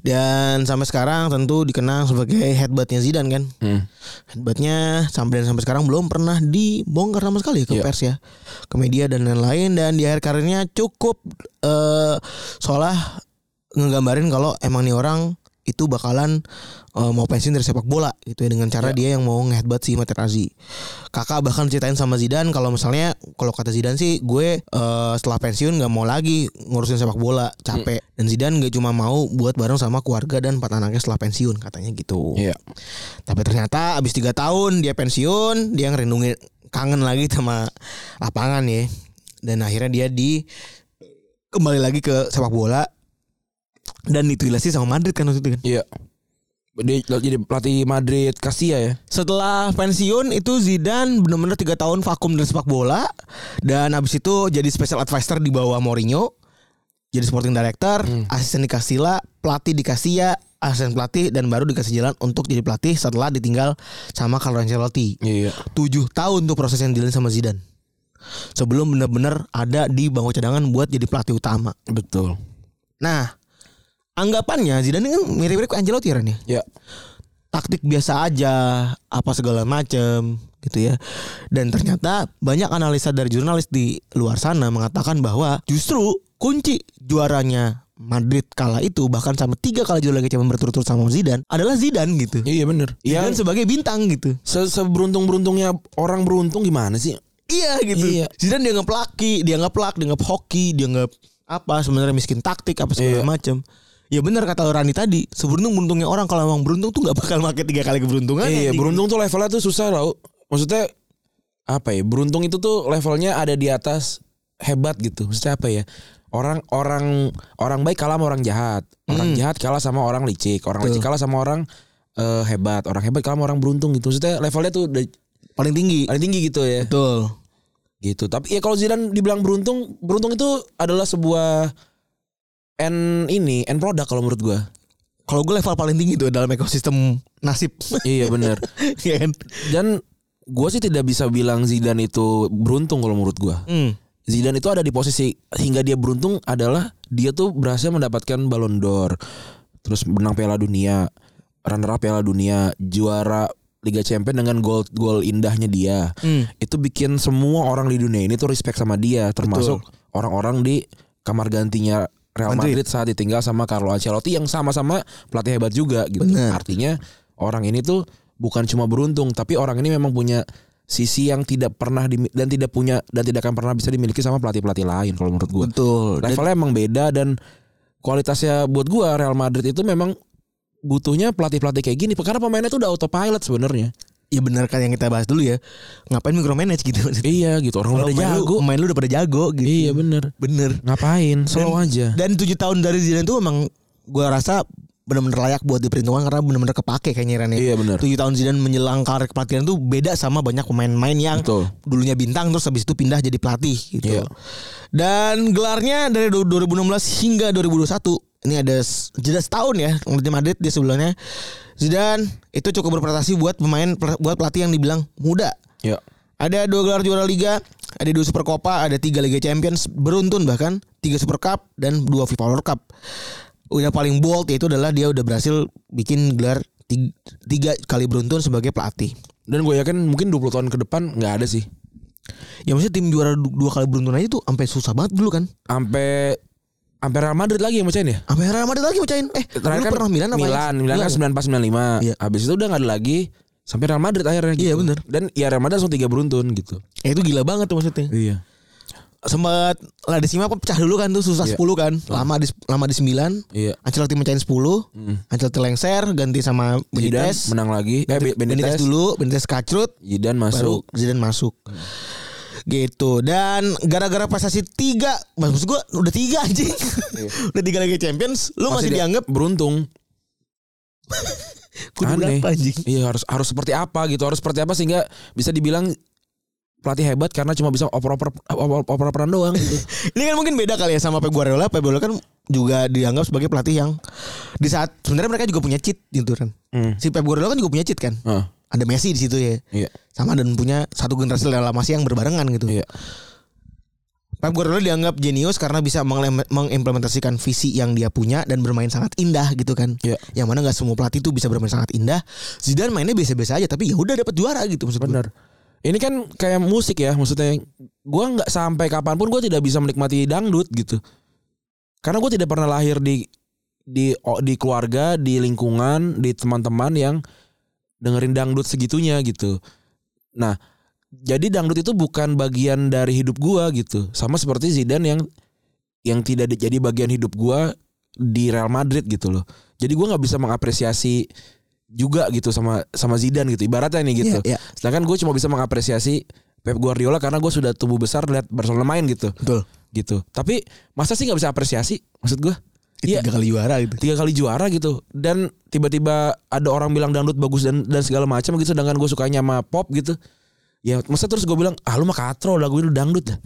Dan sampai sekarang tentu dikenang sebagai headbuttnya Zidane kan. Hmm. Headbuttnya sampai dan sampai sekarang belum pernah dibongkar sama sekali ke Iya. pers ya, ke media dan lain-lain. Dan di akhir karirnya cukup eh seolah ngegambarin kalau emang nih orang itu bakalan eh, mau pensiun dari sepak bola gitu ya dengan cara dia yang mau ngeheadbutt si Materazzi. Kakak bahkan ceritain sama Zidane kalau misalnya kalau kata Zidane sih gue eh, setelah pensiun nggak mau lagi ngurusin sepak bola capek dan Zidane gak cuma mau buat bareng sama keluarga dan empat anaknya setelah pensiun katanya gitu. Iya. Tapi ternyata abis 3 tahun dia pensiun, dia ngerindungin kangen lagi sama lapangan ya. Dan akhirnya dia di kembali lagi ke sepak bola dan dituilasi sama Madrid kan waktu itu kan. Iya. Dia jadi pelatih Madrid Castilla ya. Setelah pensiun itu Zidane benar-benar 3 tahun vakum dari sepak bola dan abis itu jadi special advisor di bawah Mourinho, jadi sporting director, asisten di Castilla, pelatih di Castilla, asisten pelatih dan baru dikasih jalan untuk jadi pelatih setelah ditinggal sama Carlo Ancelotti. Iya. 7 tahun tuh proses yang dijalin sama Zidane. Sebelum benar-benar ada di bangku cadangan buat jadi pelatih utama. Betul. Nah, anggapannya Zidane ini kan mirip-mirip ke Ancelotti Ran, ya. Ya. Taktik biasa aja, apa segala macem gitu ya. Dan ternyata banyak analisa dari jurnalis di luar sana mengatakan bahwa justru kunci juaranya Madrid kala itu bahkan sama tiga kali juara Liga Champions berturut-turut sama Zidane adalah Zidane gitu. Iya bener. Zidane Yang sebagai bintang gitu. se seberuntung beruntungnya orang beruntung gimana sih? Iya gitu. Iya. Zidane dianggap laki, dianggap plak, dianggap hoki, dianggap apa sebenarnya miskin taktik apa segala Iya. macam. Ya benar kata Rani tadi, seberuntung beruntungnya orang kalau emang beruntung tuh nggak bakal pakai tiga kali keberuntungan. iya, anjing. beruntung tuh levelnya tuh susah tau. Maksudnya apa ya? Beruntung itu tuh levelnya ada di atas hebat gitu. Maksudnya apa ya? Orang orang orang baik kalah sama orang jahat. Orang jahat kalah sama orang licik. Orang licik kalah sama orang eh, hebat. Orang hebat kalah sama orang beruntung gitu. Maksudnya levelnya tuh udah paling tinggi. paling tinggi gitu ya. Betul. gitu tapi ya kalau Zidane dibilang beruntung beruntung itu adalah sebuah end ini end product kalau menurut gua Kalau gue level paling tinggi tuh dalam ekosistem nasib. (laughs) (laughs) iya bener Iya kan? dan gue sih tidak bisa bilang Zidane itu beruntung kalau menurut gue Hmm. Zidane itu ada di posisi hingga dia beruntung adalah dia tuh berhasil mendapatkan Ballon d'Or, terus menang Piala Dunia, runner up Piala Dunia, juara Liga Champions dengan gol gol indahnya dia. Hmm. Itu bikin semua orang di dunia ini tuh respect sama dia, termasuk orang-orang di kamar gantinya Real Madrid. Madrid. saat ditinggal sama Carlo Ancelotti yang sama-sama pelatih hebat juga gitu. Benar. Artinya orang ini tuh bukan cuma beruntung, tapi orang ini memang punya sisi yang tidak pernah dimi- dan tidak punya dan tidak akan pernah bisa dimiliki sama pelatih-pelatih lain kalau menurut gue. Betul. Dan- Levelnya emang beda dan kualitasnya buat gue Real Madrid itu memang butuhnya pelatih-pelatih kayak gini karena pemainnya tuh udah autopilot sebenarnya. ya benar kan yang kita bahas dulu ya. Ngapain micromanage gitu? Iya gitu, orang udah Pemain lu- jago. Pemain lu udah pada jago gitu. Iya bener Bener. Ngapain? Slow aja. Dan 7 tahun dari Zidane tuh emang gua rasa bener-bener layak buat diperhitungkan karena bener-bener kepake kayaknya Ran ya. Iya bener 7 tahun Zidane menjelang karir kepelatihan tuh beda sama banyak pemain-pemain yang Betul. dulunya bintang terus habis itu pindah jadi pelatih gitu. Iya. Dan gelarnya dari du- 2016 hingga 2021 ini ada s- jeda setahun ya di Madrid dia sebelumnya Zidane itu cukup berprestasi buat pemain pel- buat pelatih yang dibilang muda. Ya. Ada dua gelar juara liga, ada dua Super Copa, ada tiga Liga Champions beruntun bahkan tiga Super Cup dan dua FIFA World Cup. Udah paling bold yaitu adalah dia udah berhasil bikin gelar tiga, tiga kali beruntun sebagai pelatih. Dan gue yakin mungkin 20 tahun ke depan nggak ada sih. Ya maksudnya tim juara du- dua kali beruntun aja tuh sampai susah banget dulu kan. Sampai sampai Real Madrid lagi yang mecahin ya? Sampai Real Madrid lagi mecahin. Eh, dulu Terakhir kan pernah Milan apa ya? Milan, Milan kan ya? 94 95. Iya. Habis itu udah gak ada lagi sampai Real Madrid akhirnya gitu. Iya, bener. Dan ya Real Madrid langsung tiga beruntun gitu. Ya itu gila banget tuh maksudnya. Iya. Sempat Ladesima pecah dulu kan tuh susah Iya. 10 kan. Lama di lama di 9. Iya. Ancelotti mecahin 10. Ancelotti lengser ganti sama Hmm. Zidane Benitez. menang lagi. Eh Be- Benitez Benitez, dulu, Benitez kacrut, Zidane masuk. baru Zidane masuk. Gitu. Dan gara-gara prestasi tiga, maksud gua udah tiga anjing. (laughs) udah tiga lagi Champions, lu masih, Iya. dia- dianggap beruntung. kudu Aneh. berapa anjing? Iya harus harus seperti apa gitu harus seperti apa sehingga bisa dibilang pelatih hebat karena cuma bisa oper-oper oper-operan doang (laughs) gitu. Ini kan mungkin beda kali ya sama Pep Guardiola. Pep Guardiola kan juga dianggap sebagai pelatih yang di saat sebenarnya mereka juga punya cheat gitu kan. Hmm. Si Pep Guardiola kan juga punya cheat kan. Ah, Ada Messi di situ ya. iya. Sama dan punya satu generasi dalam masih yang berbarengan gitu. Iya. Pep Guardiola dianggap jenius karena bisa menglem- mengimplementasikan visi yang dia punya dan bermain sangat indah gitu kan. Iya. Yang mana nggak semua pelatih itu bisa bermain sangat indah. Zidane mainnya biasa-biasa aja tapi ya udah dapat juara gitu maksud gue. Bener. Ini kan kayak musik ya, maksudnya gua nggak sampai kapanpun gue tidak bisa menikmati dangdut gitu, karena gue tidak pernah lahir di di o- di keluarga, di lingkungan, di teman-teman yang dengerin dangdut segitunya gitu. Nah, jadi dangdut itu bukan bagian dari hidup gua gitu, sama seperti Zidane yang yang tidak di- jadi bagian hidup gua di Real Madrid gitu loh. Jadi gua nggak bisa mengapresiasi juga gitu sama sama Zidane gitu ibaratnya nih gitu. Iya, iya. Sedangkan gue cuma bisa mengapresiasi Pep Guardiola karena gue sudah tumbuh besar lihat Barcelona main gitu, Betul. gitu. Tapi masa sih nggak bisa apresiasi? Maksud gue? Iya. Tiga kali juara gitu. Tiga kali juara gitu dan tiba-tiba ada orang bilang dangdut bagus dan dan segala macam gitu. Sedangkan gue sukanya sama pop gitu. Ya masa terus gue bilang ah lu mah katro lagu lu dangdut dah.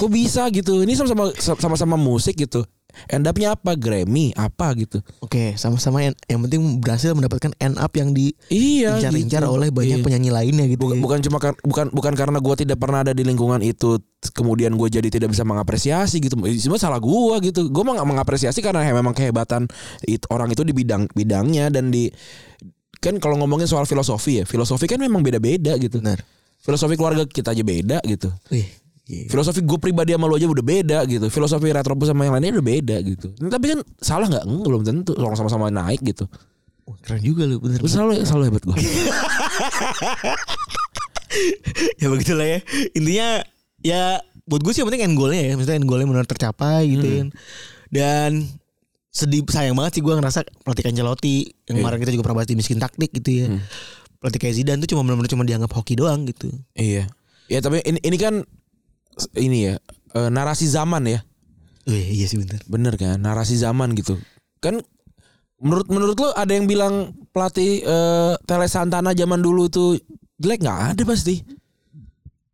Kok bisa gitu? Ini sama-sama sama-sama musik gitu. End up-nya apa? Grammy apa gitu. Oke, sama-sama yang, yang penting berhasil mendapatkan end up yang Iya. diincar-incar gitu. oleh banyak Iya. penyanyi lainnya gitu. Bukan, bukan cuma kar- bukan bukan karena gue tidak pernah ada di lingkungan itu t- kemudian gue jadi tidak bisa mengapresiasi gitu semua salah gue gitu gue mah nggak mengapresiasi karena he- memang kehebatan it, orang itu di bidang bidangnya dan di kan kalau ngomongin soal filosofi ya filosofi kan memang beda beda gitu Benar. filosofi keluarga kita aja beda gitu Wih. iya. filosofi gue pribadi sama lo aja udah beda gitu filosofi retropus sama yang lainnya udah beda gitu tapi kan salah nggak Enggak, belum tentu orang sama-sama naik gitu Wah, Keren juga lu bener. Lu selalu selalu hebat gue ya begitulah ya intinya ya buat gue sih yang penting end goalnya ya maksudnya end goalnya benar tercapai gitu kan dan sedih sayang banget sih gue ngerasa pelatih Ancelotti yang kemarin kita juga pernah bahas di miskin taktik gitu ya pelatih kayak Zidane tuh cuma benar-benar cuma dianggap hoki doang gitu Iya. Ya tapi ini, ini kan s- ini ya eh, narasi zaman ya. Wih, iya sih bener Bener kan? Narasi zaman gitu. Kan menurut menurut lo ada yang bilang pelatih eh, Tele Santana zaman dulu tuh jelek nggak ada pasti.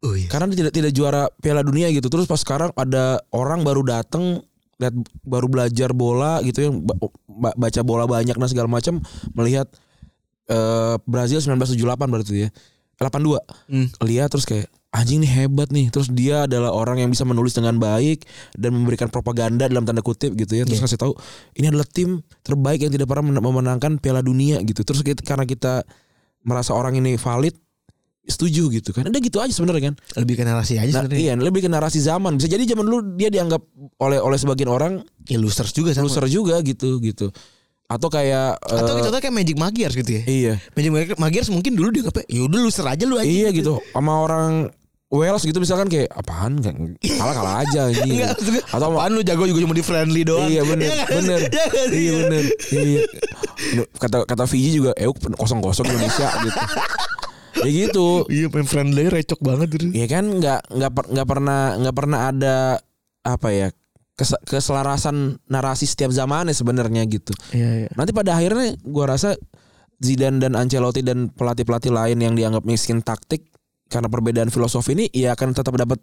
oh, iya. Karena dia tidak tidak juara Piala Dunia gitu. Terus pas sekarang ada orang baru datang lihat baru belajar bola gitu yang ba- ba- baca bola banyak dan segala macam melihat eh, Brazil 1978 berarti ya 82 Hmm. lihat terus kayak anjing nih hebat nih terus dia adalah orang yang bisa menulis dengan baik dan memberikan propaganda dalam tanda kutip gitu ya terus kasih tahu ini adalah tim terbaik yang tidak pernah men- memenangkan Piala Dunia gitu terus kita, karena kita merasa orang ini valid setuju gitu kan udah gitu aja sebenarnya kan Lebih ke narasi aja Nah, sebenarnya. iya, lebih ke narasi zaman. Bisa jadi zaman dulu dia dianggap oleh oleh sebagian orang Ya losers juga sama. loser juga gitu gitu. Atau kayak Atau eh, contohnya kayak Magic Magiars gitu ya. iya. Magic Magiars- Magiars mungkin dulu dia kayak yaudah loser aja lu aja. (laughs) Iya gitu. Sama orang Wales gitu misalkan kayak apaan kan kalah kalah aja ini. Enggak, maksud gue, Atau apaan lu jago juga cuma di friendly doang. Iya (laughs) benar, Iya nggak sih? benar. Iya nggak sih? Iya benar. Iya. Kata kata Fiji juga eh kosong kosong Indonesia gitu. Ya gitu. Iya main friendly recok banget dulu. Ya kan nggak nggak per- nggak pernah nggak pernah ada apa ya kes- keselarasan narasi setiap zamannya sebenarnya gitu. Iya iya. Nanti pada akhirnya gua rasa Zidane dan Ancelotti dan pelatih-pelatih lain yang dianggap miskin taktik karena perbedaan filosofi ini ya akan tetap dapat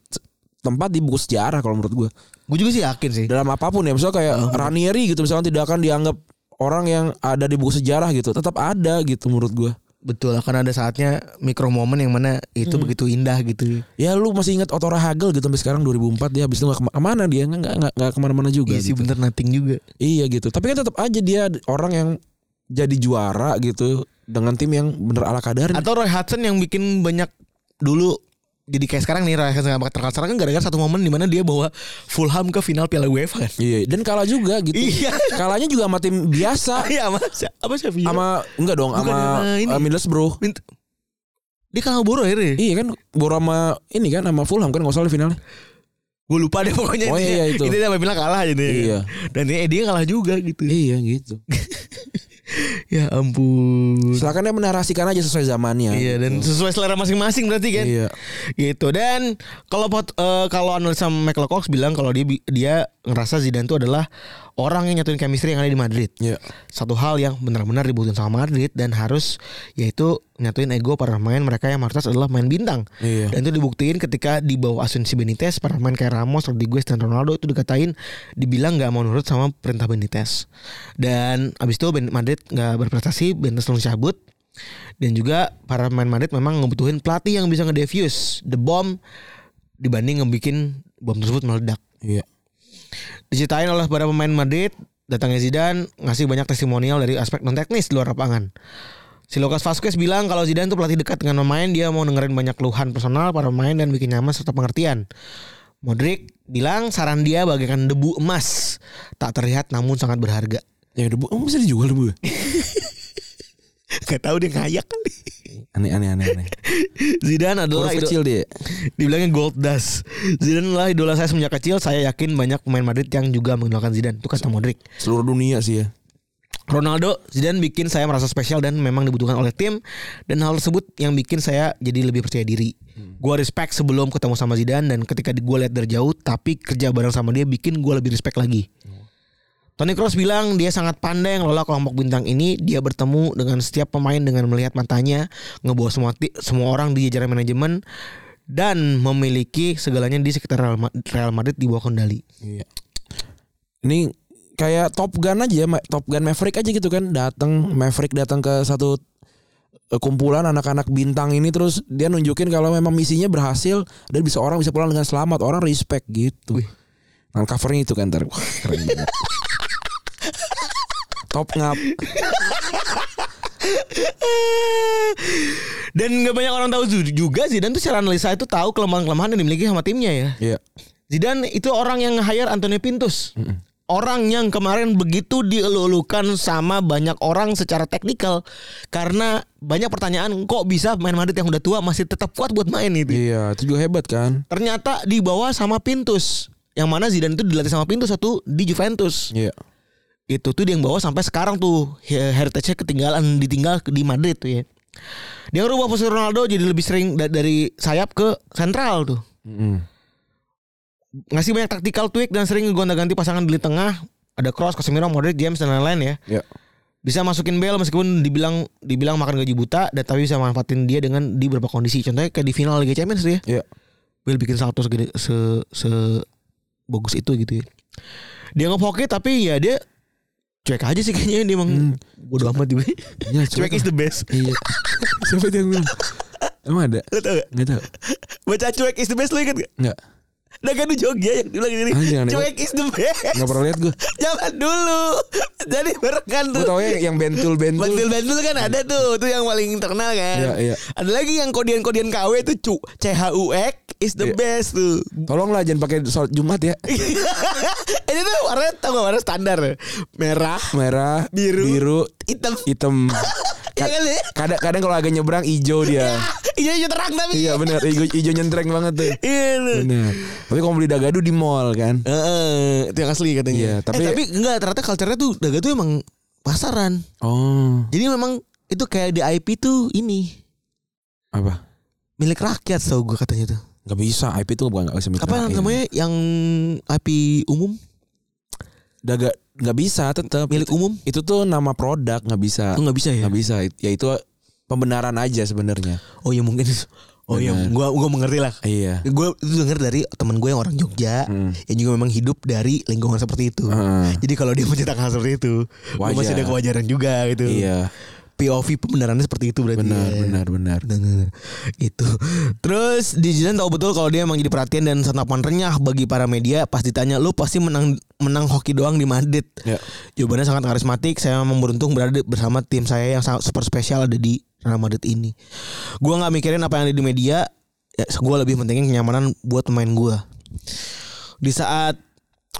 tempat di buku sejarah kalau menurut gua. Gue juga sih yakin sih. Dalam apapun ya, misalnya kayak Ranieri gitu misalkan tidak akan dianggap orang yang ada di buku sejarah gitu, tetap ada gitu menurut gua. Betul akan ada saatnya mikro momen yang mana itu begitu indah gitu. Ya lu masih ingat Otora Hagel gitu sampai sekarang 2004 dia habis itu nggak kema- kemana dia nggak nggak nggak- nggak kemana-mana Iya juga. sih gitu. bener nothing juga. Iya gitu. Tapi kan tetap aja dia orang yang jadi juara gitu dengan tim yang bener ala kadarnya. Atau Roy Hudson yang bikin banyak dulu jadi kayak sekarang nih Roy Hudson nggak terkenal sekarang kan gara-gara satu momen dimana dia bawa Fulham ke final Piala UEFA kan. Iya, dan kalah juga gitu. Iya. Kalahnya juga sama tim biasa. (laughs) Iya sama si- apa siapa? Sama Sama enggak dong Bukan sama sama ini. uh, Middlesbrough. Mint- dia kalah boro akhirnya. ya? Iya kan Boro sama ini kan sama Fulham kan enggak salah di finalnya. Gue lupa deh pokoknya. Oh, iya, itu. Ini sampai bilang kalah aja deh. Iya. Dan ini dia kalah juga gitu. Iya gitu. Ya ampun. Silakan dia menarasikan aja sesuai zamannya. Iya dan sesuai selera masing-masing berarti kan. Iya. Gitu dan kalau pot- eh, kalau analisa Michael Cox bilang kalau dia bi- dia ngerasa Zidane itu adalah orang yang nyatuin chemistry yang ada di Madrid. Iya. Satu hal yang benar-benar dibutuhin sama Madrid dan harus yaitu nyatuin ego para pemain mereka yang mayoritas adalah main bintang. Iya. Dan itu dibuktiin ketika di bawah Asunsi Benitez para pemain kayak Ramos, Rodriguez dan Ronaldo itu dikatain dibilang nggak mau nurut sama perintah Benitez. Dan abis itu Ben- Madrid nggak berprestasi, Benitez langsung cabut. Dan juga para pemain Madrid memang ngebutuhin pelatih yang bisa ngedefuse the bomb dibanding ngebikin bom tersebut meledak. Iya. Diceritain oleh para pemain Madrid, datangnya Zidane ngasih banyak testimonial dari aspek non teknis di luar lapangan. Si Lucas Vasquez bilang kalau Zidane tuh pelatih dekat dengan pemain, dia mau dengerin banyak keluhan personal para pemain dan bikin nyaman serta pengertian. Modric bilang saran dia bagaikan debu emas, tak terlihat namun sangat (laughs) berharga. Ya debu, emang bisa dijual debu. ya? Gak tahu dia ngayak kali. Aneh aneh aneh (laughs) aneh. Zidane adalah Huruf idol- kecil dia. dibilangnya gold dust. Zidane lah idola saya semenjak kecil. Saya yakin banyak pemain Madrid yang juga mengidolakan Zidane. Itu kata Modric. Seluruh dunia sih ya. Ronaldo Zidane bikin saya merasa spesial dan memang dibutuhkan oleh tim dan hal tersebut yang bikin saya jadi lebih percaya diri. Gua respect sebelum ketemu sama Zidane dan ketika di- gua lihat dari jauh tapi kerja bareng sama dia bikin gua lebih respect lagi. Toni Kroos bilang dia sangat pandai ngelola kelompok bintang ini. Dia bertemu dengan setiap pemain dengan melihat matanya, ngebawa semua ti- semua orang di jajaran manajemen dan memiliki segalanya di sekitar Real Ma- Real Madrid di bawah kendali. Iya. Ini kayak Top Gun aja, ya, Ma- Top Gun Maverick aja gitu kan. Datang Maverick datang ke satu eh, kumpulan anak-anak bintang ini terus dia nunjukin kalau memang misinya berhasil dan bisa orang bisa pulang dengan selamat, orang respect gitu. Nah, covernya itu kan ntar. Wah, (laughs) keren banget. Top ngap. Dan nggak banyak orang tahu ju- juga Zidane tuh secara analisa itu tahu kelemahan-kelemahan yang dimiliki sama timnya ya. Iya. Zidane itu orang yang hire Antonio Pintus. Orang yang kemarin begitu dielulukan sama banyak orang secara teknikal karena banyak pertanyaan kok bisa main Madrid yang udah tua masih tetap kuat buat main itu. Iya, itu juga hebat kan? Ternyata dibawa sama Pintus. Yang mana Zidane itu dilatih sama Pintus satu di Juventus. Iya. Itu tuh dia yang bawa sampai sekarang tuh he- heritage-nya ketinggalan ditinggal di Madrid tuh ya. Dia ngerubah posisi Ronaldo jadi lebih sering da- dari sayap ke sentral tuh. Mm-mm. Ngasih banyak taktikal tweak dan sering gonta-ganti pasangan di lini tengah. Ada Cross, Casemiro, Modric, James dan lain-lain ya. Iya. Bisa masukin Bale meskipun dibilang dibilang makan gaji buta, dan tapi bisa manfaatin dia dengan di beberapa kondisi. Contohnya kayak di final Liga Champions tuh ya. Iya. Bale bikin salto segede se se bagus itu gitu ya. dia ngepoke tapi ya dia cuek aja sih kayaknya dia emang Hmm. bodo amat juga. Ya, (laughs) cuek is the best. Iya. Siapa itu yang bilang? Emang ada? Lo tau gak? Enggak tahu. Baca cuek is the best lo inget gak? Enggak. Nah kan di Jogja yang bilang gini Ah, jangan, Cuek is the best (laughs) Enggak pernah lihat gue. Zaman dulu Jadi berkan Gue tuh tau ya yang bentul-bentul. Bantul-bantul kan ada tuh Itu yang paling terkenal kan Iya, iya. Ada lagi yang kodian-kodian KW tuh cu CHUX is the Iya. best tuh (laughs) Tolonglah jangan pakai sholat Jumat ya. Ini tuh warnanya tau gak warna standar Merah Merah, Biru. biru, Hitam hitam. Iya kan ya (laughs) Kadang-kadang kalau agak nyebrang hijau dia. Iya terang tapi Iya benar, hijau, hijau nyentreng banget tuh. Iya tuh. Benar. Tapi kalau beli dagadu di mall kan. Heeh, itu yang asli katanya. Iya, tapi- eh, tapi enggak ternyata culture-nya tuh daga tuh emang pasaran. Oh, Jadi memang itu kayak di IP tuh ini apa? milik rakyat tau gue katanya tuh. Gak bisa, IP itu bukan gak bisa mikir. Apa namanya yang IP umum, Daga gak bisa tetap. milik umum? Itu tuh nama produk nggak bisa. Oh, nggak bisa ya? Nggak bisa. Ya itu pembenaran aja sebenarnya. Oh ya mungkin. Oh ya, Benar. gua gua mengerti lah. Iya. Gue denger dari teman gue yang orang Jogja Hmm. yang juga memang hidup dari lingkungan seperti itu. Heeh. Jadi kalau dia mencetak hal seperti itu, gua Wajar. masih ada kewajaran juga gitu. Iya. POV pembenarannya seperti itu berarti. Benar, ya. benar, benar. Bener. Itu. Terus Dijidan tahu betul kalau dia emang jadi perhatian dan santapan renyah bagi para media pas ditanya lu pasti menang menang hoki doang di Madrid. Ya. Jawabannya sangat karismatik. Saya memang beruntung berada bersama tim saya yang sangat super spesial ada di Real Madrid ini. Gua nggak mikirin apa yang ada di media. Ya, gua lebih pentingin kenyamanan buat pemain gua. Di saat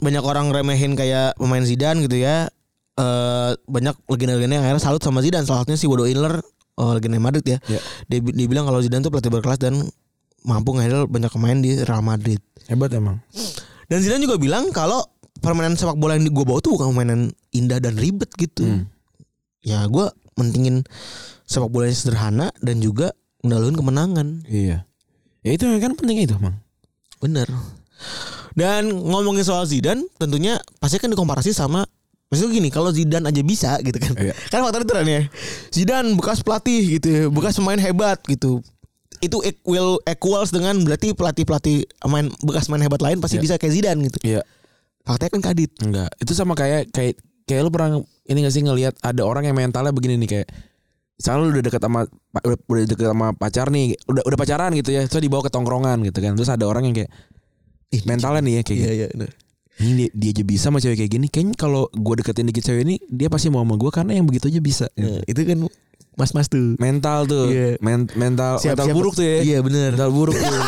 banyak orang remehin kayak pemain Zidane gitu ya. eh banyak legenda-legenda yang akhirnya salut sama Zidane. Salah satunya si Bodo Iler, eh, legenda Madrid ya. Ya. Dia, dia bilang kalau Zidane tuh pelatih berkelas dan mampu ngehandle banyak pemain di Real Madrid. Hebat emang. Dan Zidane juga bilang kalau permainan sepak bola yang gue bawa tuh bukan permainan indah dan ribet Hmm. gitu. Ya gue mentingin sepak bola yang sederhana dan juga ngedaluin kemenangan. Iya. Ya itu kan pentingnya itu, Mang. Bener. Dan ngomongin soal Zidane, tentunya pasti kan dikomparasi sama Maksudnya gini, kalau Zidane aja bisa gitu kan. Iya. Kan faktornya itu kan ya. Zidane bekas pelatih gitu, ya, bekas pemain hebat gitu. Itu equal equals dengan berarti pelatih-pelatih main bekas main hebat lain pasti Iya. bisa kayak Zidane gitu. Iya. Faktanya kan kadit. Enggak. Itu sama kayak kayak kayak lu pernah ini gak sih ngelihat ada orang yang mentalnya begini nih kayak misalnya lu udah deket sama pa- udah, udah deket sama pacar nih, udah udah pacaran gitu ya, terus dibawa ke tongkrongan gitu kan. Terus ada orang yang kayak Ih, mentalnya nih ya kayak Iya gini. iya. bener. Ini dia, dia aja bisa sama cewek kayak gini. Kayaknya kalau gua deketin dikit cewek ini, dia pasti mau sama gua karena yang begitu aja bisa. gitu. Nah, itu kan mas-mas tuh. Mental tuh. Iya. Men- mental mental Siap-siap- buruk tuh ya. Iya bener. Mental (laughs) buruk tuh.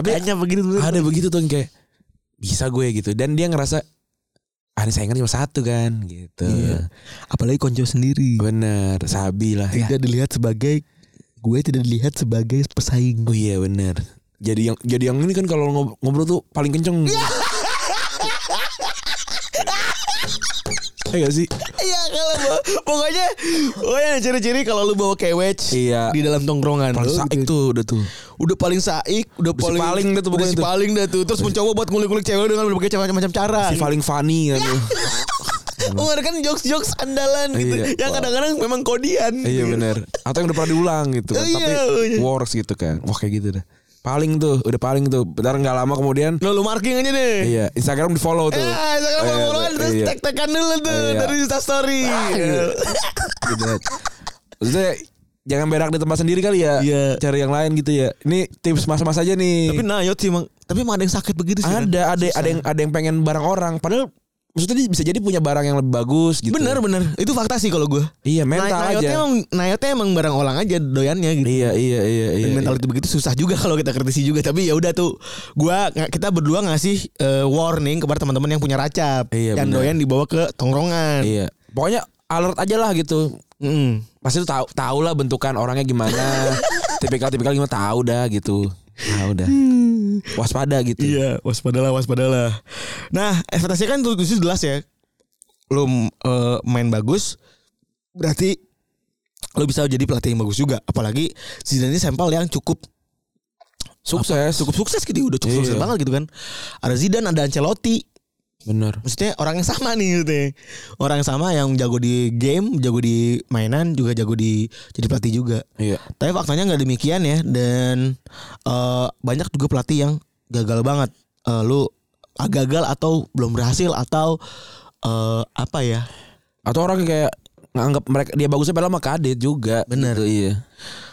Tapi Hanya begitu bener. ada begitu tuh yang kayak bisa gue gitu dan dia ngerasa ah ini saingan cuma satu kan gitu. Iya. Apalagi konco sendiri. Bener, sabi lah ya. Tidak dilihat sebagai gue tidak dilihat sebagai pesaing. Oh iya bener. Jadi yang jadi yang ini kan kalau ngob- ngobrol tuh paling kenceng. Iya gak sih? Iya kalau bawa- pokoknya pokoknya ciri-ciri kalau lu bawa kewec Iya. di dalam tongkrongan Paling lu saik gitu. tuh udah tuh. udah paling saik udah si paling paling dah tuh udah pokoknya si tuh. paling dah tuh terus mencoba buat ngulik-ngulik cewek dengan berbagai macam-macam cara Si paling funny kan tuh. Oh, ada kan jokes-jokes andalan gitu Iya. yang kadang-kadang memang kodian gitu. iya bener. Atau yang udah pernah diulang gitu kan. Iya, Tapi iya. works gitu kan. Wah kayak gitu dah. Paling tuh, udah paling tuh. Bentar nggak lama kemudian Lo Nah, lu marking aja deh Iya, Instagram di follow tuh. Eh, sekarang Iya, follow-followan terus iya. tag-tagan dulu tuh Iya. dari Insta story. Iya. gitu. Gitu. Maksudnya jangan berak di tempat sendiri kali ya. Iya. Cari yang lain gitu ya. Ini tips mas-mas aja nih. Tapi nah, sih emang, tapi emang ada yang sakit begitu sih. ada ada ada yang ada yang pengen barang orang padahal maksudnya dia bisa jadi punya barang yang lebih bagus gitu. Bener bener, itu fakta sih kalau gue. Iya, mental Nah, aja. Nayotnya emang, nayotnya emang barang orang aja doyannya gitu. Iya, iya, iya, iya. Dan mental iya. itu begitu susah juga kalau kita kritisi juga. Tapi ya udah tuh, gua nggak- kita berdua ngasih eh, warning kepada teman-teman yang punya racap, Iya, yang bener. doyan dibawa ke tongkrongan. Iya. Pokoknya alert aja lah gitu. Mm. Pasti tuh tahu tahu lah bentukan orangnya gimana. Tipikal-tipikal gimana tahu dah gitu. Tahu dah. Waspada gitu. Iya, waspadalah, waspadalah. Nah, ekspektasinya kan tuh tuh jelas ya. Lu eh, main bagus, berarti lu bisa jadi pelatih yang bagus juga. Apalagi Zidane ini sampel yang cukup Sukses. cukup sukses gitu, udah cukup Iya. sukses banget gitu kan. Ada Zidane, ada Ancelotti. Bener. Maksudnya orang yang sama nih gitu ya. Orang yang sama yang jago di game, jago di mainan, juga jago di jadi pelatih juga. Iya. Tapi faktanya nggak demikian ya dan eh, banyak juga pelatih yang gagal banget. Eh, lu ah, gagal atau belum berhasil atau eh, apa ya Atau orang kayak nganggap mereka dia bagusnya padahal mah kadet juga. Bener. Gitu, iya.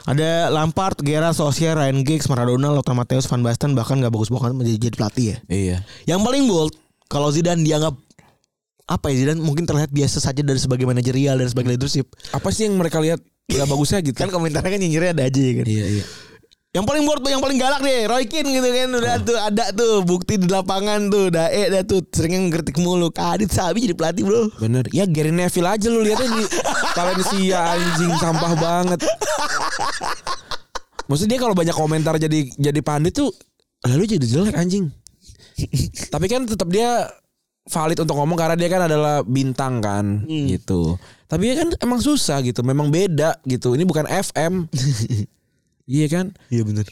ada Lampard, Gerrard, Solskjaer, Ryan Giggs, Maradona, Lothar Matthäus, Van Basten bahkan nggak bagus banget menjadi jadi pelatih ya. Iya. Yang paling bold kalau Zidane dianggap apa ya Zidane mungkin terlihat biasa saja dari sebagai manajerial dan sebagai leadership. Apa sih yang mereka lihat nggak bagusnya gitu? Kan komentarnya kan nyinyirnya ada aja ya kan. iya iya. Yang paling bold yang paling galak deh Roy Keane gitu kan udah tuh ada tuh bukti di lapangan tuh udah eh dah tuh sering ngeritik mulu Kadit Ah, Sabi jadi pelatih bro Bener. Ya Gary Neville aja lu lihatnya di Valencia anjing sampah banget. Maksudnya dia kalau banyak komentar jadi jadi pandit tuh lalu jadi jelek anjing. Tapi kan tetap dia valid untuk ngomong karena dia kan adalah bintang kan gitu. Tapi ya kan emang susah gitu, memang beda gitu. Ini bukan FM. iya kan? Iya bener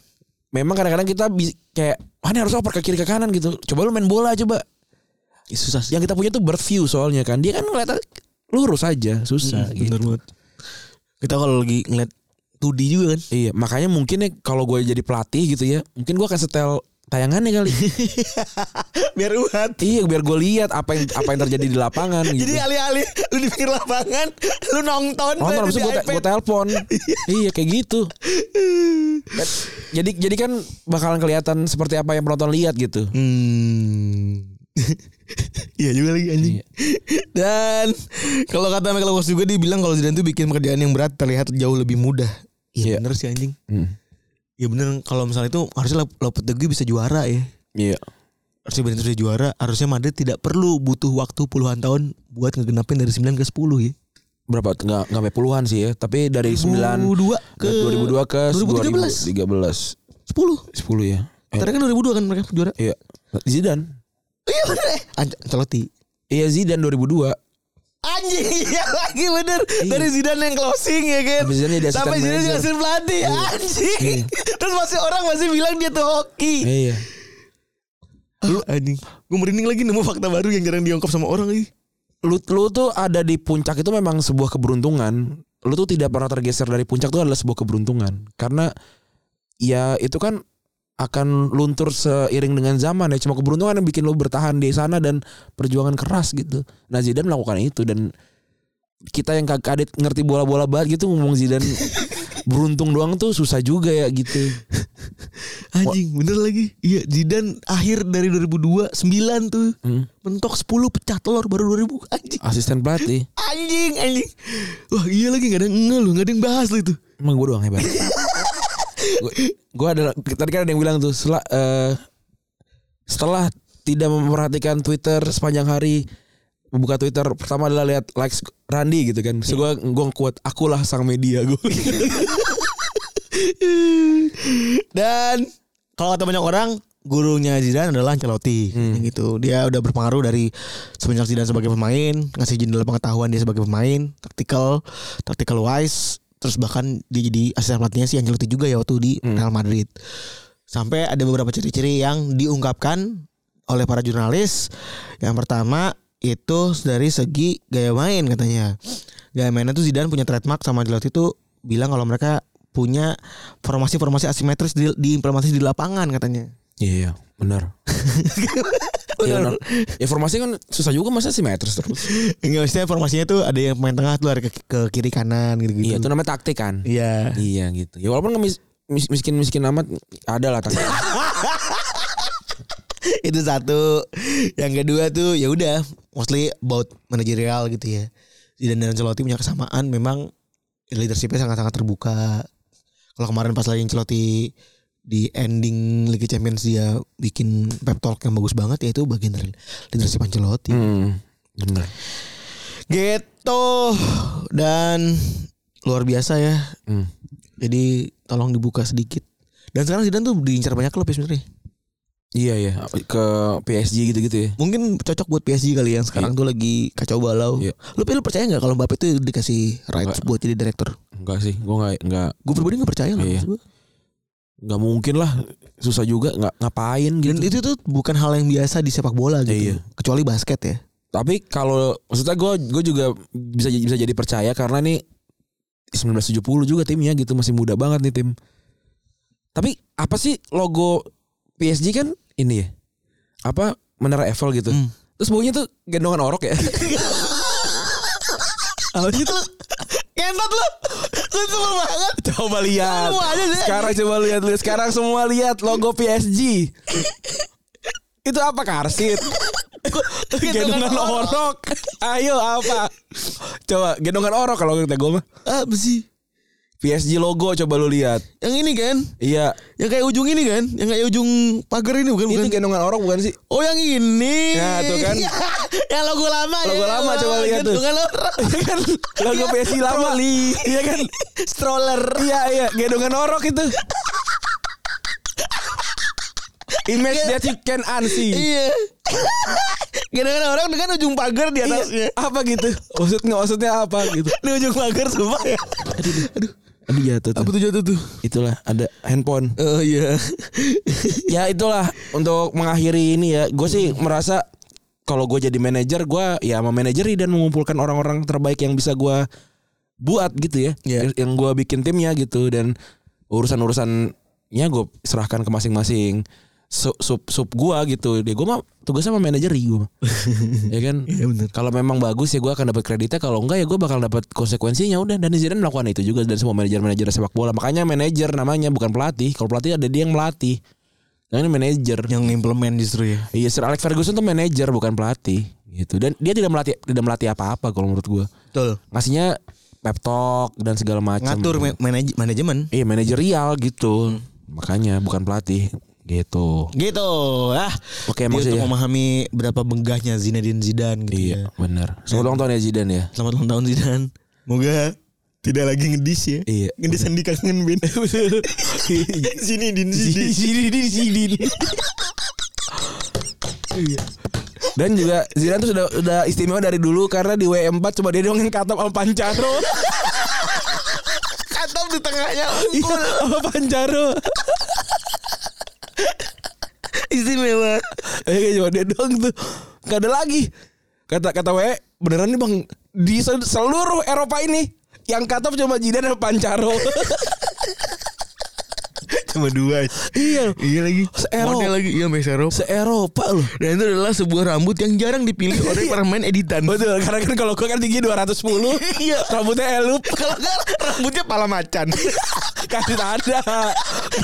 Memang kadang-kadang kita bi- kayak wah ini harus oper ke kiri ke kanan gitu. Coba lu main bola coba Susah sih yang kita punya tuh bird view soalnya kan dia kan ngeliat lurus aja susah Hmm, gitu. Bener banget Kita kalau lagi ngeliat 2D juga kan (laughs) iya makanya mungkin ya kalau gue jadi pelatih gitu ya mungkin gue akan setel tayangannya (laughs) kali Biar uhat iya biar gue lihat apa yang apa yang terjadi di (laughs) lapangan gitu Oh, Jadi alih-alih lu di pinggir lapangan, (laughs) lu nonton, nonton berarti habis di gue iPad. gue telepon (laughs) iya kayak gitu Hmm. Kan, jadi jadi kan bakalan kelihatan seperti apa yang penonton lihat gitu Hmm. (laughs) Iya juga lagi anjing. (laughs) Dan kalau kata Michael Kos juga dia bilang kalau Zidane tuh bikin pekerjaan yang berat terlihat jauh lebih mudah. Iya. Iya bener sih anjing. Hmm. Iya bener kalau misalnya itu harusnya Lop- Lopetegui bisa juara ya. iya Harusnya Benitez bisa juara, harusnya Madrid tidak perlu butuh waktu puluhan tahun buat ngegenapin dari 9 ke 10 ya. berapa nggak nggak sampai puluhan sih ya tapi dari sembilan 2002 ke 2002 ke 2013. 2013 10 10. ya Eh, Karena kan 2002 kan mereka juara. iya Zidane Iya bener eh. An- Ancelotti. Iya Zidane 2002 Anjing (laughs) iya lagi bener Dari Zidane yang closing ya kan Sampai Zidane jadi Sampai asisten Zidane jadi manager. asisten pelatih Anjing (laughs) Terus masih orang masih bilang dia tuh hoki Iya Lu anjing Gue merinding lagi nemu fakta baru yang jarang diungkap sama orang lagi lu, lu tuh ada di puncak itu memang sebuah keberuntungan Lu tuh tidak pernah tergeser dari puncak itu adalah sebuah keberuntungan Karena ya itu kan akan luntur seiring dengan zaman ya Cuma keberuntungan yang bikin lu bertahan di sana dan perjuangan keras gitu Nah Zidane melakukan itu dan kita yang kagak adit ngerti bola-bola banget gitu ngomong Zidane beruntung doang tuh susah juga ya gitu Anjing bener lagi Iya Zidane akhir dari 2002 9 tuh Hmm. Mentok 10 pecah telur baru 2000 Anjing Asisten pelatih Anjing anjing Wah iya lagi gak ada yang ngeh lu Gak ada yang bahas lu itu Emang gue doang hebat. (laughs) gue adalah tadi kan ada yang bilang tuh setelah eh, setelah tidak memperhatikan Twitter sepanjang hari membuka Twitter pertama adalah lihat likes Randy gitu kan. So gue gue kuat akulah sang media gue. Dan kalau kata banyak orang gurunya Zidane adalah Ancelotti gitu. Dia udah berpengaruh dari semenjak Zidane sebagai pemain, ngasih jendela pengetahuan dia sebagai pemain, tactical, tactical wise, terus bahkan dia jadi asisten pelatihnya si Ancelotti juga ya waktu di Real Madrid. Sampai ada beberapa ciri-ciri yang diungkapkan oleh para jurnalis. Yang pertama itu dari segi gaya main katanya. Gaya mainnya tuh Zidane punya trademark sama Ancelotti tuh bilang kalau mereka punya formasi-formasi asimetris di, diimplementasi di lapangan katanya. (laughs) (laughs) Iya, benar. (laughs) Iya benar. Informasi kan susah juga masa simetris terus. Enggak maksudnya formasinya tuh ada yang main tengah tuh ada ke, ke kiri kanan Iya, gitu-gitu. itu namanya taktik kan. Iya. Iya gitu. Ya walaupun ngemis- mis- miskin-miskin amat ada lah taktik. (laughs) itu satu. Yang kedua tuh ya udah mostly about manajerial gitu ya. Zidane dan Ancelotti punya kesamaan memang leadershipnya sangat-sangat terbuka. Kalau kemarin pas lagi Ancelotti di ending Liga Champions dia bikin pep talk yang bagus banget ya itu bagian dari leadership Ancelotti. Hmm, benar. Gitu dan luar biasa ya. Hmm. Jadi tolong dibuka sedikit. Dan sekarang Zidane tuh diincar banyak klub ya sebenarnya. Iya ya ke PSG gitu-gitu ya. Mungkin cocok buat PSG kali yang sekarang tuh lagi kacau balau. Iya. Lu, lu percaya nggak kalau Mbappe tuh dikasih rights buat jadi direktur? Enggak sih, gue nggak nggak Gue pribadi nggak percaya lah. Iya. maksud gua. nggak mungkin lah susah juga nggak ngapain Dan itu gitu. tuh bukan hal yang biasa di sepak bola gitu. Iya. Kecuali basket (laughs) ya. Tapi kalau maksudnya gue gue juga bisa jadi- bisa jadi percaya karena nih 1970 juga timnya gitu masih muda banget nih tim. Tapi apa sih logo PSG kan ini ya? Apa menara Eiffel gitu. Hmm. Terus baunya tuh gendongan orok (laughs) ya. Apa sih itu? Ngentot lu. Lu sebel banget. coba lihat. Lu ada deh. Sekarang coba lihat lihat. Sekarang semua lihat logo PSG. Itu apa karsit? Gendongan gitu kan gendongan orok. Ayo apa? Coba gendongan orok kalau kata gue mah. Apa sih? PSG logo coba lu lihat. Ah, Yang ini kan? Iya. Yang kayak ujung ini kan? Yang kayak ujung pagar ini bukan? bukan? Itu gendongan orok bukan sih? Oh yang ini. Ya, tuh (laughs) kan. yang logo lama ya. Gitu Logo lama, coba lihat tuh. Gendongan (laughs) Iya kan logo PSG lama. Iya kan? Stroller. Iya iya gendongan orok itu. Image that you can unsee. Iya. (laughs) Gendongan orang dengan ujung pagar di atasnya. Iya. Apa gitu? Maksudnya maksudnya apa gitu? Di ujung pagar sumpah ya. Aduh. Aduh. Aduh jatuh Apa Iya, tuh jatuh tuh? Itulah ada handphone. Oh iya. ya itulah untuk mengakhiri ini ya gue sih merasa kalau gue jadi manajer gue ya memanajeri dan mengumpulkan orang-orang terbaik yang bisa gue buat gitu ya Iya. yang gue bikin timnya gitu dan urusan-urusannya gue serahkan ke masing-masing sub sub, sub gue gitu dia gue mah tugasnya memanajeri (laughs) gue ya kan Iya benar. kalau memang bagus ya gue akan dapat kreditnya kalau enggak ya gue bakal dapat konsekuensinya udah dan Zidane melakukan itu juga dan semua manajer-manajer sepak bola makanya manajer namanya bukan pelatih kalau pelatih ada dia yang melatih yang ini manajer (laughs) Yang implement justru ya. iya Sir Alex Ferguson tuh manajer bukan pelatih gitu dan dia tidak melatih tidak melatih apa-apa kalau menurut gue Betul. ngasihnya pep talk dan segala macam Gitu. Ngatur ma- manaj- manajemen. iya manajerial gitu makanya bukan pelatih gitu Gitu ah. Dia Oke, untuk maksudnya ya. memahami berapa benggahnya Zinedine Zidane gitu iya ya. benar selamat ulang tahun ya Zidane ya Selamat ulang tahun Zidane. Moga tidak lagi ngedis ya. Iya. Ngedis Andi kangen (laughs) Ben. sini din sini. Zidane (laughs) Zidane Iya. Dan juga Zidane tuh sudah udah istimewa dari dulu karena di WM4 cuma dia doang yang katap sama (laughs) Pancaro. Katap di tengahnya. Iya, sama Pancaro. Istimewa. Eh kayak cuma dia doang tuh. Gak ada lagi. Kata kata W beneran nih Bang di se- seluruh Eropa ini yang katap cuma Zidane sama (laughs) Pancaro. Cuma dua. iya. Iya lagi. Se-Eropa. Model lagi iya Mas Eropa. Se-Eropa loh. Dan itu adalah sebuah rambut yang jarang (laughs) dipilih oleh para pemain editan. Betul, karena kan kalau gue kan tinggi 210, (laughs) Iya. rambutnya elup. (laughs) Kalau enggak rambutnya pala (laughs) macan. Kasih ada.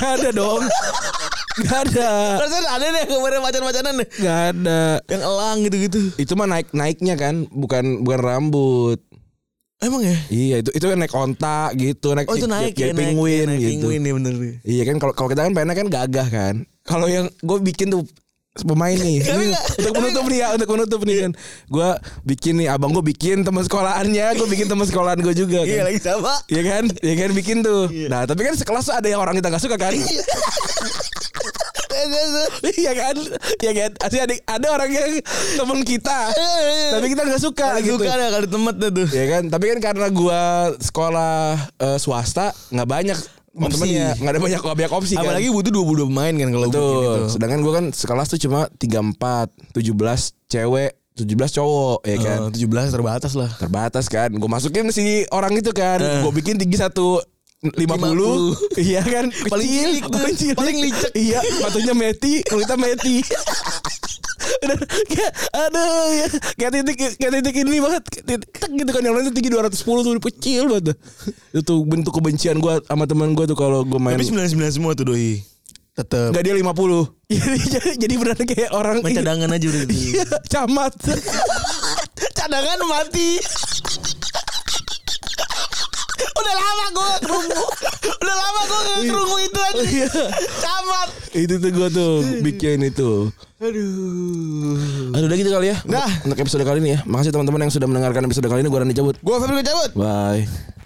Gak ada dong. Gak ada. Rasanya ada deh kemarin macan-macanan deh. Gak ada. Yang elang gitu-gitu. Itu mah naik naiknya kan, bukan bukan rambut. Emang ya? Iya, itu itu yang naik onta gitu, naik Oh itu naik ya, kayak naik, penguin ya, naik gitu. Penguin ya bener. Iya kan kalau kalau kita kan pengennya kan gagah kan. Kalau yang gue bikin tuh pemain nih Tapi Ini nggak- untuk tapi menutup nih ya untuk menutup nih kan gue bikin nih abang gue bikin teman sekolahannya gue bikin teman sekolahan gue juga Iya kan. lagi sama. Iya kan? Iya kan bikin tuh. Nah, tapi kan sekelas tuh ada yang orang kita gak suka kan? (laughs) Iya kan? Iya kan? Ada ada orang yang temen kita. tapi kita gak suka Ada gitu. Eh, suka ada kali temet dah tuh. Iya kan? Tapi kan karena gua sekolah eh, swasta nggak banyak temennya, nggak ada banyak banyak opsi kan. Apalagi butuh 22 pemain kan kalau bikin Betul. itu. Sedangkan gua kan sekelas tuh cuma 34, 17 cewek, 17 cowok, ya kan? Eh, 17 terbatas lah. Eh. terbatas kan gue masukin si orang itu kan gue bikin tinggi satu 50. 50, (laughs) iya kan Paling cilik tuh. paling cilik Paling licik. iya patunya meti kalau kita (laughs) meti Udah, kayak aduh ya kayak titik kayak titik ini banget Kayak titik, tek gitu kan yang lain tuh tinggi 210 tuh kecil banget tuh. itu bentuk kebencian gue sama teman gue tuh kalau gue main Tapi 99 semua tuh doi. Tetep. Enggak dia 50 (laughs) jadi jadi benar kayak orang Main cadangan aja udah. gitu. Iya, camat (laughs) cadangan mati. Udah lama gue kerungu. Udah lama gue kerungu itu aja. Iya. Camat. itu tuh gue tuh bikin itu Aduh. Aduh udah gitu kali ya Dah. Untuk episode kali ini ya Makasih teman-teman yang sudah mendengarkan episode kali ini Gue Rani cabut Gue Febri gue cabut. Bye